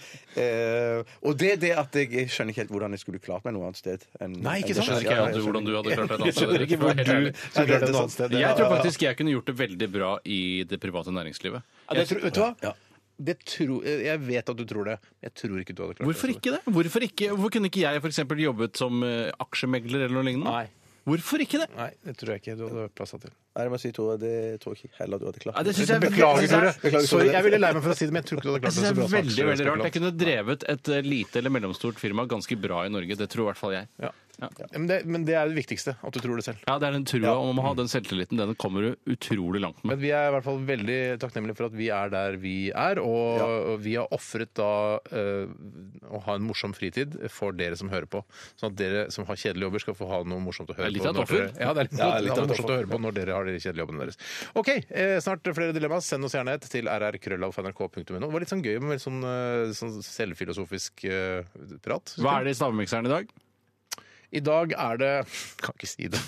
Eh, og det er det at jeg jeg skjønner ikke helt hvordan jeg skulle klart meg noe annet sted. enn- Nei, ikke enn sant? Jeg det skjer. skjønner ikke jeg hvordan du hadde klart deg et annet sted. ikke for å være helt hvor du ærlig. skulle klart deg et annet sted. Jeg tror faktisk jeg kunne gjort det veldig bra i det private næringslivet. Ja, det tror, vet du hva? Det tror- jeg vet at du tror det. Jeg tror ikke du hadde klart det. Hvorfor ikke det? Hvorfor, ikke? Hvorfor kunne ikke jeg for eksempel jobbet som eh, aksjemegler eller noe lignende? Nei. Hvorfor ikke det? Nei, det tror jeg ikke du hadde plassa til. Nei, jeg må si, Tore, det tror jeg ikke heller du hadde klart. Ja, det synes jeg- Beklager, Tore. Beklager, Tore. Sorry, jeg ville lei meg for å si det, men jeg tror ikke du hadde Jeg klart det så synes det bra. er som veldig, veldig rart. Jeg aksjespekulant. kunne drevet et eh, lite eller mellomstort firma ganske bra i Norge. Det tror i hvert fall jeg. Ja. Men, det, men det er det viktigste, at du tror det selv. Ja, det er den trua om å ha den selvtilliten. Den kommer du utrolig langt med. Men vi er i hvert fall veldig takknemlige for at vi er der vi er, og, og vi har ofret da eh, å ha en morsom fritid for dere som hører på. Sånn at dere som har kjedelige jobber, skal få ha noe morsomt å høre Det er litt på. av et når offer. dere- Ja, det er litt, Ja, litt det er av et morsomt å offer. høre på når dere har de kjedelige jobbene deres. OK, eh, snart flere dilemmaer. Send oss gjerne et til rrkrøllalfnrk.no. Det var litt sånn gøy med litt sånn, eh, sånn selvfilosofisk eh, prat. Hva er det i stavmikseren i dag? I dag er det Kan ikke si det.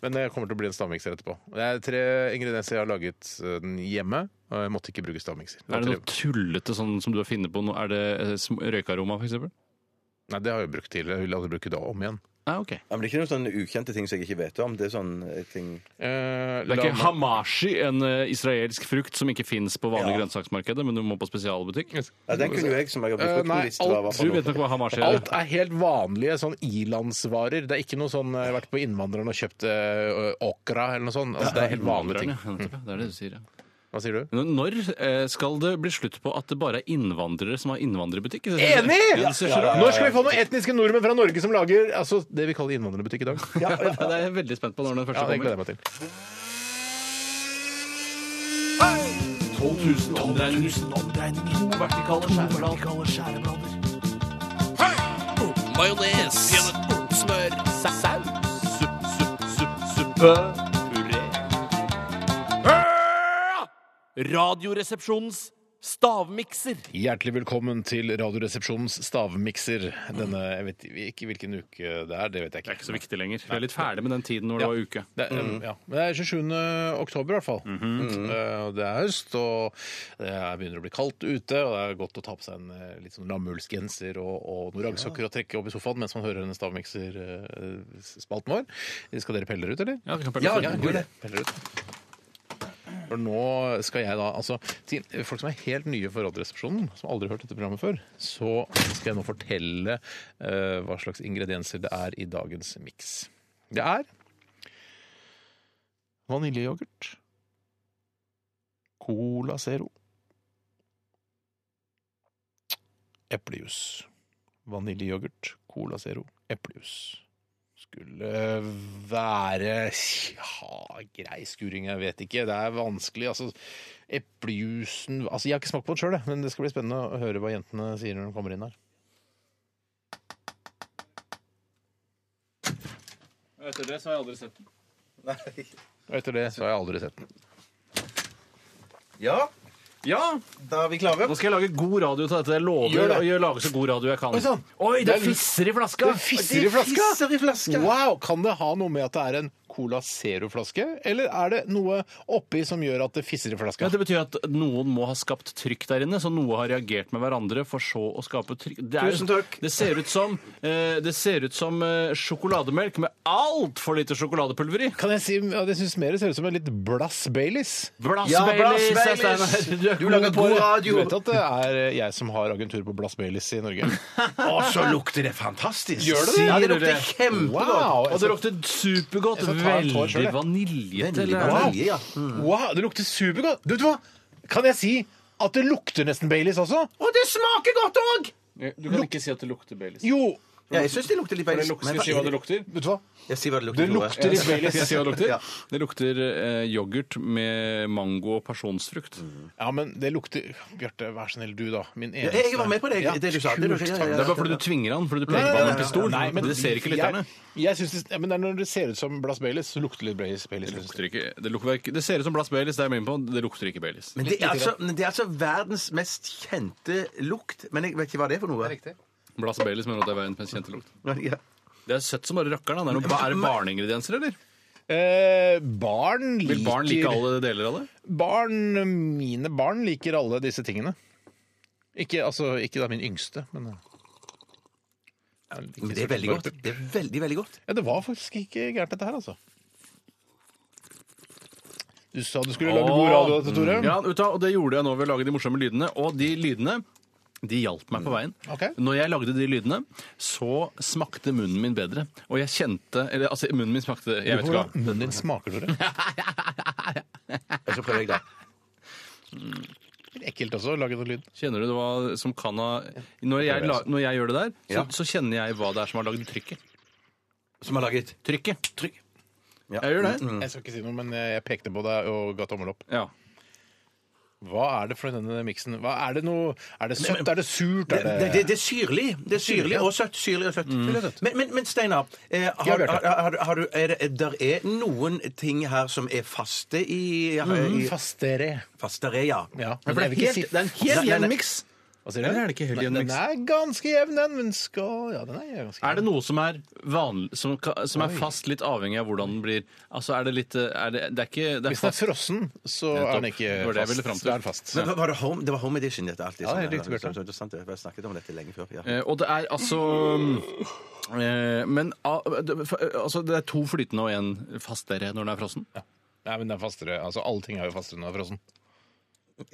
Men det kommer til å bli en stavmikser etterpå. Det er tre ingredienser jeg har laget eh, den hjemme. Og jeg måtte ikke bruke stavmikser. Det var Er tre- det noe tullete sånn som du har funnet på? nå? Er det eh, sm- røykaroma, for eksempel? Nei, det har jeg brukt tidligere. Jeg vil aldri bruke det om igjen. Ja, ok. Ja, men det er ikke noen sånne ukjente ting som jeg ikke vet om. Det er sånne eh, ting Eh, Det er la ikke meg- hamashi, en eh, israelsk frukt som ikke fins på vanlig Ja. grønnsaksmarkedet, men du må på spesialbutikk? ja, Den kunne jo jeg, som jeg har Eh, blitt brukt nei, på lista. alt- hva for Du noe. vet nok hva hamashi er? Alt er helt vanlige sånn ilandsvarer. Det er ikke noe sånn Jeg har vært på Innvandreren og kjøpt eh, okra eller noe sånn. Altså, det er helt vanlige ting. Ja, nettopp, ja. Det er det du sier, ja. Hva sier du? Men Når eh, skal det bli slutt på at det bare er innvandrere som har innvandrerbutikk? Enig! Ja, det ser sånn ut. Når skal vi få noen etniske nordmenn fra Norge som lager altså, det vi kaller innvandrerbutikk i dag? Ja, det er jeg veldig spent på når Ja, den første det gleder jeg kommer. meg til. 12 000 omdreininger. To vertikale skjæreblader. Majones. Smør. Saus. Supp, supp, supp, suppe. Puré. Radioresepsjonens stavmikser. Hjertelig velkommen til Radioresepsjonens stavmikser. Denne, jeg vet ikke hvilken uke det er, det vet jeg ikke. Det er ikke så viktig lenger. Vi er litt ferdig med den tiden hvor det var uke. Det, er- ja. Men det er 27. oktober, i hvert fall. Eh, og Det er høst, og det er- begynner å bli kaldt ute. Og det er godt å ta på seg en eh, litt sånn lammullsgenser og, og noen raggsokker og trekke opp i sofaen mens man hører denne stavmikserspalten vår. Skal dere pelle dere ut, eller? Ja, vi kan pelle oss ut. det. Peller ut. For nå skal jeg da, altså til folk som er helt nye for Radioresepsjonen, som aldri har hørt dette programmet før, så skal jeg nå fortelle eh, hva slags ingredienser det er i dagens miks. Det er vaniljeyoghurt, Cola Zero, eplejus. Vaniljeyoghurt, Cola Zero, eplejus skulle være ja, grei skuring, jeg vet ikke. Det er vanskelig. altså Eplejusen altså, Jeg har ikke smakt på den sjøl, men det skal bli spennende å høre hva jentene sier når de kommer inn her. Etter det så har jeg aldri sett den. Og etter det så har jeg aldri sett den. Ja, Ja! da er vi klare. Nå skal jeg lage god radio til dette. Jeg lover Gjør det. å gjøre- lage så god radio jeg kan. Oi, sann. det Det er- fisser i flaska! Fisser i flaska! Fisser i flaska. Wow! Kan det ha noe med at det er en Cola Zero-flaske, eller er det noe oppi som gjør at det fisser i Ja, flaska? Det betyr at noen må ha skapt trykk der inne, så noe har reagert med hverandre for så å skape trykk. Det Tusen takk. Det ser ut som, eh, det ser ut som eh, sjokolademelk med altfor lite sjokoladepulver i. Kan jeg si at jeg syns mer ser ut som en litt blass Baileys? Blass Ja, Baileys, Blass er Baileys. Steinar. er Du lager på god det. Du radio. vet at det er eh, jeg som har agentur på Blass Baileys i Norge? Og Ah, så lukter det fantastisk. Gjør det det? Ja, det Sier lukter det. kjempegodt. Wow! altså, Og det lukter supergodt. Jeg skal ta en tår selv, Veldig jeg. vaniljete. Veldig eller? vanilje, ja. Wow, det lukter supergodt. Du vet du hva? Kan jeg si at det lukter nesten Baileys også? Og det smaker godt òg! Du kan ikke si at det lukter Baileys. Jo, Ja, jeg syns det lukter litt Men Baileys. luk- Skal jeg si hva det lukter? vet du hva? Jeg sier hva det lukter. Det Tore. lukter i Baileys. Skal jeg si hva det lukter? Ja. Det lukter eh, yoghurt med mango og pasjonsfrukt. Ja, men det lukter Bjarte, vær så snill, du, da. Min Ja, eneste jeg var med på det. Ja. Det du sa. Det lukter, ja, ja, Det ja. er bare fordi du tvinger han, fordi du peker på han med en pistol. Nei, men det ser ikke lytterne. Jeg, jeg synes det, ja, men det er når det ser ut som Blass Baileys, så lukter det litt Baileys. Baileys Det synes jeg. lukter ikke Det, lukter, ikke- det ser ut som Blass Baileys, det er jeg med på. Det lukter ikke Baileys. Men det, er altså, men det er altså verdens mest kjente lukt. Men jeg vet ikke hva det er for noe. Blass Baileys mener at det er verdens mest kjente lukt. Ja. Det er søtt som bare rakkeren. da. Det Er, noe, er det barneingredienser, eller? Eh, barn liker Vil barn like alle deler av det? Barn, mine barn liker alle disse tingene. Ikke, altså, ikke da min yngste, men Men det er veldig godt. Det er veldig, veldig godt. Ja, det var faktisk ikke gærent dette her, altså. Du sa du skulle Åh, mm. lage god radio, dette, Tore. Ja, vet du hva, og det gjorde jeg nå ved å lage de morsomme lydene. Og de lydene de hjalp meg på veien. Ok. Når jeg lagde de lydene, så smakte munnen min bedre. Og jeg kjente Eller altså, munnen min smakte Jeg vet ikke hva. Hvordan munnen din smaker, Tore. Jeg skal prøve, jeg, da. Litt Ekkelt også, å lage noe lyd. Kjenner du det hva som kan ha Når jeg, la, når jeg gjør det der, så, Ja. så kjenner jeg hva det er som har lagd trykket. Som har laget Trykket. trykk. Ja. Jeg gjør det. Jeg skal ikke si noe, men jeg pekte på deg og ga tommel opp. Ja. Hva er det for denne miksen? Hva Er det noe Er det søtt? Er det surt? Det, Er det, det det, det er syrlig. Det er syrlig og søtt. Syrlig og søtt. Men, men, men Steinar, eh, Ja, har, Bjarte. har, har, har du, er det, der er noen ting her som er faste i, ja, i Fastere. Fastere, ja. Mm. Ja. Men for det, er Jeg vil ikke helt, si- det er en helt Nei, nei, nei. jevn miks. Hva sier Eller du? er det ikke helt Nei, jevn Den miks? er ganske jevn, den, men skal Ja, den er ganske Er det noe som er vanlig, som, ka- som er fast litt avhengig av hvordan den blir? Altså, er det litt eh, er det, det er ikke det er Hvis den er fast. frossen, så Nettopp. er den ikke Det var det jeg ville fram fast. til. Da er den fast. Men, hva- var det, home, det var home edition, dette. Alltid, Ja, det er riktig, Bjarte. Så, så, så, sant, jeg snakket om dette lenge før. Ja. Eh, Og det er altså mm, eh, Men ah, det- for- eh, altså, det er to flytende og én fastere når den er frossen? Nei, men den er fastere. Altså, alle ting er jo fastere når den er frossen.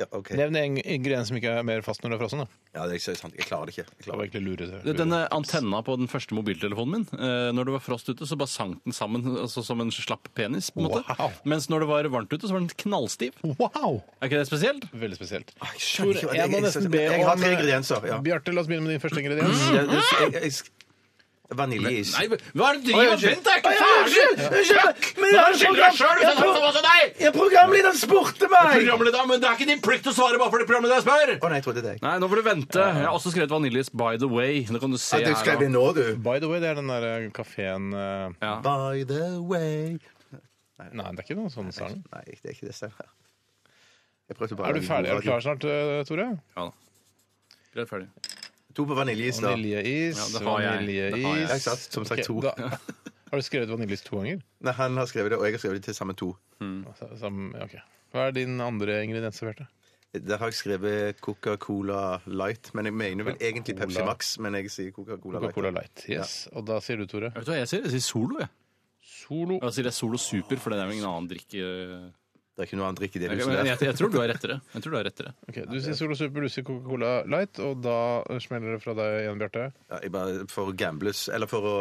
Ja, ok. Nevn en ingrediens som ikke er mer fast når det er frossen. da. Ja, det er ikke sant. Jeg klarer det ikke. Jeg Det klarer var det ikke. egentlig lure, lure. Denne antenna på den første mobiltelefonen min, eh, når det var frost ute, så bare sank den sammen altså som en slapp penis. på en måte. Wow. Mens når det var varmt ute, så var den knallstiv. Wow! Er ikke det spesielt? Veldig spesielt. Ah, Jeg skjønner ikke hva det jeg må er. nesten be Jeg har om- eh, tre ingredienser. Ja. Mm. Bjarte, la oss begynne med din første ingrediens. Jeg- jeg- jeg- jeg- Vaniljeis. Nei, hva er det du Oi, driver med? unnskyld. Bent, er ikke Oi, ferdig! unnskyld, unnskyld, men jeg har Bare skyld deg sjøl hvis jeg Jeg tar tror- det sånn til deg! Ja, Programlederen spurte meg! Programleder, men det er ikke din plikt å svare bare fordi programlederen spør! Å nei, jeg trodde det. Nei, nå får du vente. Jeg har også skrevet vaniljeis by the way. Det kan du se Ja, du her. skrev det da. nå, du. By the way, det er den der kafeen eh, Ja. By the way Nei, det er ikke noen sånn sang. Nei, det er ikke det stemmer. Jeg prøvde bare Er du ferdig? Er du klar snart, eh, Tore? Ja da. Greit, ferdig. To på vaniljeis, da. Vaniljeis, Ja, det har jeg. Det har jeg. vaniljeis Jeg satt som sagt Ok, to. da- Har du skrevet vaniljeis to ganger? Nei, han har skrevet det, og jeg har skrevet det til sammen to. Sa- Sam, ok. Hva er din andre ingrediens, Bjarte? Der har jeg skrevet Coca-Cola Light, men jeg mener vel egentlig Pepsi Max. Men jeg sier Coca-Cola Light. Coca-Cola Light. Yes. Og da sier du, Tore? Vet du hva jeg sier? Jeg sier Solo, jeg. Solo. Jeg sier det er Solo Super, for det er jo ingen annen drikke Det er ikke noe annet drikke i det jeg, huset jeg, der. jeg tror du har rettere. Jeg tror du har rettere. Ok, Du sier Solo Super, du sier Coca-Cola Light, og da eh, smeller det fra deg igjen, Bjarte. Ja, jeg bare for å gambles, eller for å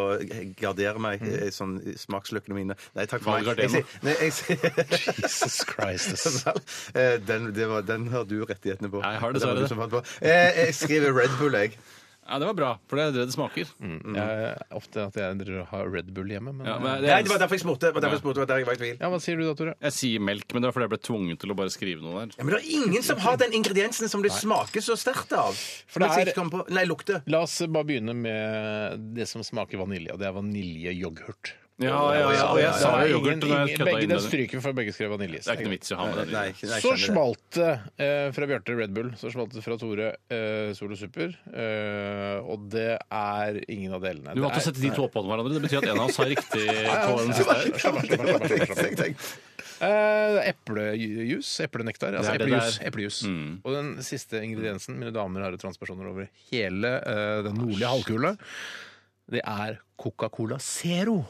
gardere meg i sånn i smaksløkene mine. Nei, takk for Hva meg. garderer Jeg sier- nei, jeg sier- Jesus Christ. Eh, den, det var, den har du rettighetene på. Ja, jeg har Det dessverre var du det. som fant på. Eh, jeg skriver Red Bull, jeg. Ja, det var bra, for det er det det smaker. Mm. Jeg er ofte at jeg driver og har Red Bull hjemme, men Ja, men det Nei, er, det var derfor jeg spurte. Det var derfor jeg spurte, det var der jeg var i tvil. Ja, Hva sier du da, Tore? jeg sier melk, men det var fordi jeg ble tvunget til å bare skrive noe der. Ja, men det er ingen som har den ingrediensen som det smaker så sterkt av. For det det er- ikke kom på. Nei, lukter. La oss bare begynne med det som smaker vanilje, og det er vaniljeyoghurt. Ja, ja, ja, og ja, jeg sa Det er jo yoghurt. ingen- men jeg ingen- kødda Begge inn den den. stryker for begge skrev vanilje. Det er ikke noe vits i å ha med den. Nei, ikke- nei, jeg Så skjønner det. smalt det eh, fra Bjarte Red Bull, så smalt det fra Tore eh, Solo Super. Eh, og det er ingen av delene. Du valgte å Det sette de to oppå hverandre. Det betyr at en av oss har riktig på den er- siste. Slapp av, slapp av, slapp av, slapp av, slapp av. Tenk, tenk. Eh, Eplejus, eplenektar. Altså Det Mm. er det eplejus. det er. eplejus. Og den siste ingrediensen, mine damer og herrer transpersoner over hele eh, den nordlige Ah, halvkule, det er Coca-Cola Zero.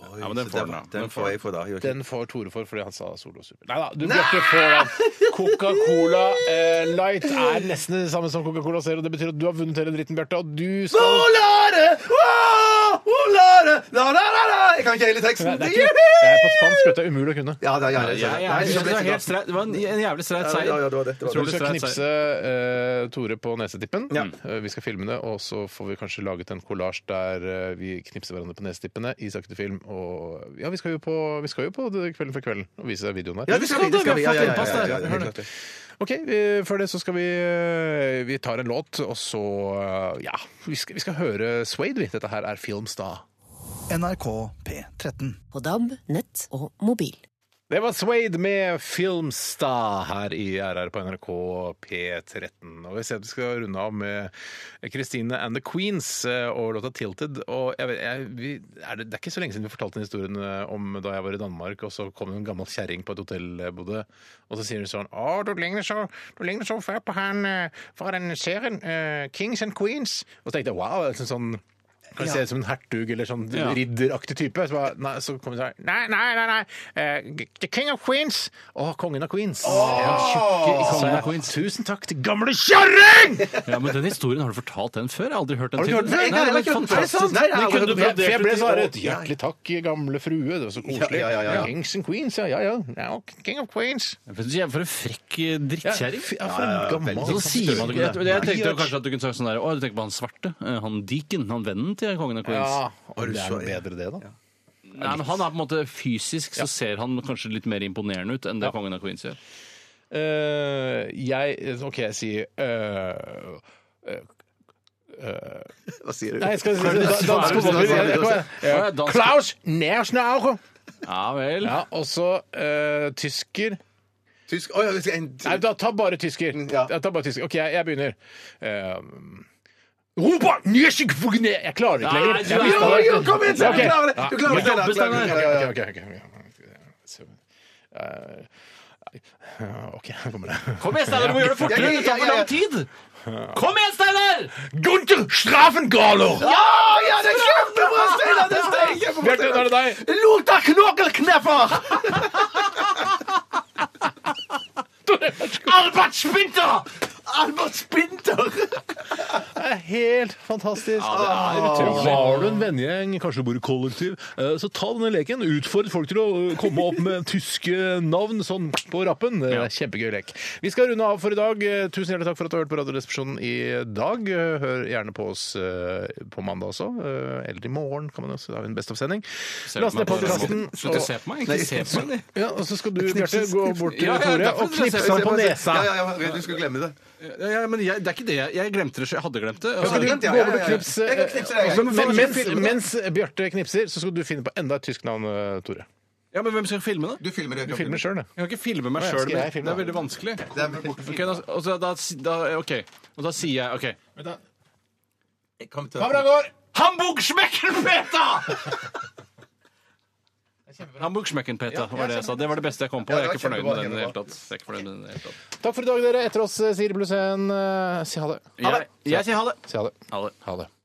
Oi, Ja, men den så får den, da. var- Den Den får jeg for da. jo. Den får Tore for fordi han sa Solo Super. Nei da, du Bjarte får den. Coca-Cola eh, Light er nesten det samme som Coca-Cola Zero. Det betyr at du har vunnet hele dritten, Bjarte, og du skal Olare! Wow! Olare! La, la, la, la! Jeg kan ikke hele teksten. Nei, det, er ikke, det er på spansk, vet du. Det er umulig å kunne. Ja, da, ja, ja, Ja, ja, Nei, det så ble var det helt så bra. streit. Det var en en jævlig streit Ja, seier. ja, det var det, det var Du Utrolig det. skal streit seier. knipse eh, Tore på nesetippen. Ja. Eh, vi skal filme det, og så får vi kanskje laget en kollasj der eh, vi knipser hverandre på nesetippene i sakte film. Og ja, vi skal jo på, vi skal jo på det Kvelden for kvelden og vise videoen der. Ja, det skal vi, det skal vi. Ja, ja, ja, ja, Pass deg. ja, ja, helt klart det. Ok, vi, før det så skal vi eh, Vi tar en låt, og så eh, Ja, vi skal, vi skal høre Suede, vi. Dette her er Filmstad. NRK P13. På DAB, nett og mobil. Det var Suede med Filmstad her i RR på NRK P13. Og vi ser at vi skal runde av med Christine and the Queens eh, og låta 'Tilted'. Og jeg, vet- jeg, vi, er det, det er ikke så lenge siden vi fortalte den historien eh, om da jeg var i Danmark, og så kom det en gammel kjerring på et hotell jeg bodde, og så sier hun sånn 'Å, du ligner så, du ligner så fælt på han eh, fra den serien, eh, 'Kings and Queens'. Og så tenkte jeg 'wow', det er liksom sånn kan se ut som en hertug eller sånn Ja. ridderaktig type. Så, bare, nei, så kom hun sånn Nei, nei, nei. nei. eh, the King of Queens! Å, kongen av Queens. Ja, tjukke i kongen av Queens. Tusen takk til gamle kjerring! Ja, men den historien, har du fortalt den før? Jeg har aldri hørt den Har du ikke hørt den før? Nei, Nei, det var ikke hørt den før. fantastisk. Nei, jeg har Men kunne aldri hørt du den før. For jeg ble brodert ut svaret Å, ja. Hjertelig takk, gamle frue. Det var så koselig. Ja, ja, ja, ja. Kings and Queens, ja, ja. ja. ja King of Queens. i For en frekk eh, Ja, drittkjerring. fy- ja, for en gammel Sånn sier man ikke det. Jeg tenkte jo Nei. kanskje at du kunne sagt sånn der Å, du tenker på han svarte? eh, Han Deacon? Han vennen til kongen av Queens? Ja, og du det er noe så- bedre det, da. Nei, men han er på en måte Fysisk så ser han kanskje litt mer imponerende ut enn det kongen av Queens gjør. Eh, jeg OK, jeg sier eh, Hva sier du? Nei, jeg skal si det dansk svarer du på vanlig. til Jeg- jeg- dansk? jeg- jeg- Ja, dansk. Klaus Nersnauer. Ja vel. Ja, og så eh, tysker. Tysk Å ja, vi skal en Nei, da, ta bare tysker. Mm, ja. Jeg tar bare tysker. OK, jeg, jeg begynner. Um, Robert Nersingfugne! Jeg klarer det ikke Nei, lenger. du Jeg er- mistet Jo, det. jo, kom igjen! Steinar, Ok. Du klarer det! Du klarer det! Ja, Steinar, men klarer det, Steinar. Ok, klarer det, ja, ja. ok, ok, ok. Eh, OK, her kommer det. Kom igjen, Steinar! Du må gjøre det fortere! Det tar for lang tid! Kom igjen, Steinar! Gunther Strafengaler! Ja, ja, det er kjempebra, Steinar! Det er kjempebra! Bjarte, nå er det deg. Lota knokelkneffer! Albert Spinter! Albert Spinter! Det er helt fantastisk. Ja, det er utrolig. Har du en vennegjeng, kanskje du bor i kollektiv, eh, så ta denne leken. Utfordr folk til å eh, komme opp med tyske navn sånn på rappen. Det Ja. er Kjempegøy lek. Vi skal runde av for i dag. Eh, Tusen hjertelig takk for at du har hørt på Radioresepsjonen i dag. Eh, Hør gjerne på oss eh, på mandag også. Eh, Eller i morgen kan man også. Da har vi en Best of-sending. Ser Last på ned meg på den podkasten. måten. Slutt å se på meg. Ikke se på meg. Ja, og så skal du, Bjarte, gå bort til Ja, ja, Tore derfor og skal jeg knipse se ham på på det. nesa. Ja, ja, ja, du skulle glemme det. Ja, ja, men jeg, det er ikke det. Jeg, jeg glemte det, så jeg hadde glemt det. Altså, Skal du- Gå Ja, ja, ja, over ja. og knips, Jeg kan knipse deg, jeg. eh, men- Faen, jeg Mens, skal filme det. mens Bjarte knipser, så skal du finne på enda et tysk navn, eh, Tore. Ja, men hvem skal filme det? Du filmer det. Du filmer sjøl, det. Jeg kan ikke filme meg Å, ja, sjøl. skal jeg Det filme er da? veldig vanskelig. Det er borte Ok, da, og så da, da, ok, og da sier jeg OK. Kom til går! Hamburg-schmecken-peta! Hamburg-schmecken-peta var det jeg sa. Det var det beste jeg kom på. Ja, Jeg er det ikke var fornøyd med kjempebra, den i det hele kjempebra. tatt. Jeg er ikke fornøyd med den i det hele tatt. Takk for i dag, dere. Etter oss eh, Siri pluss en. eh, Si ha det. Jeg, jeg sier ha det. Si ha det. Ha det. Ha det.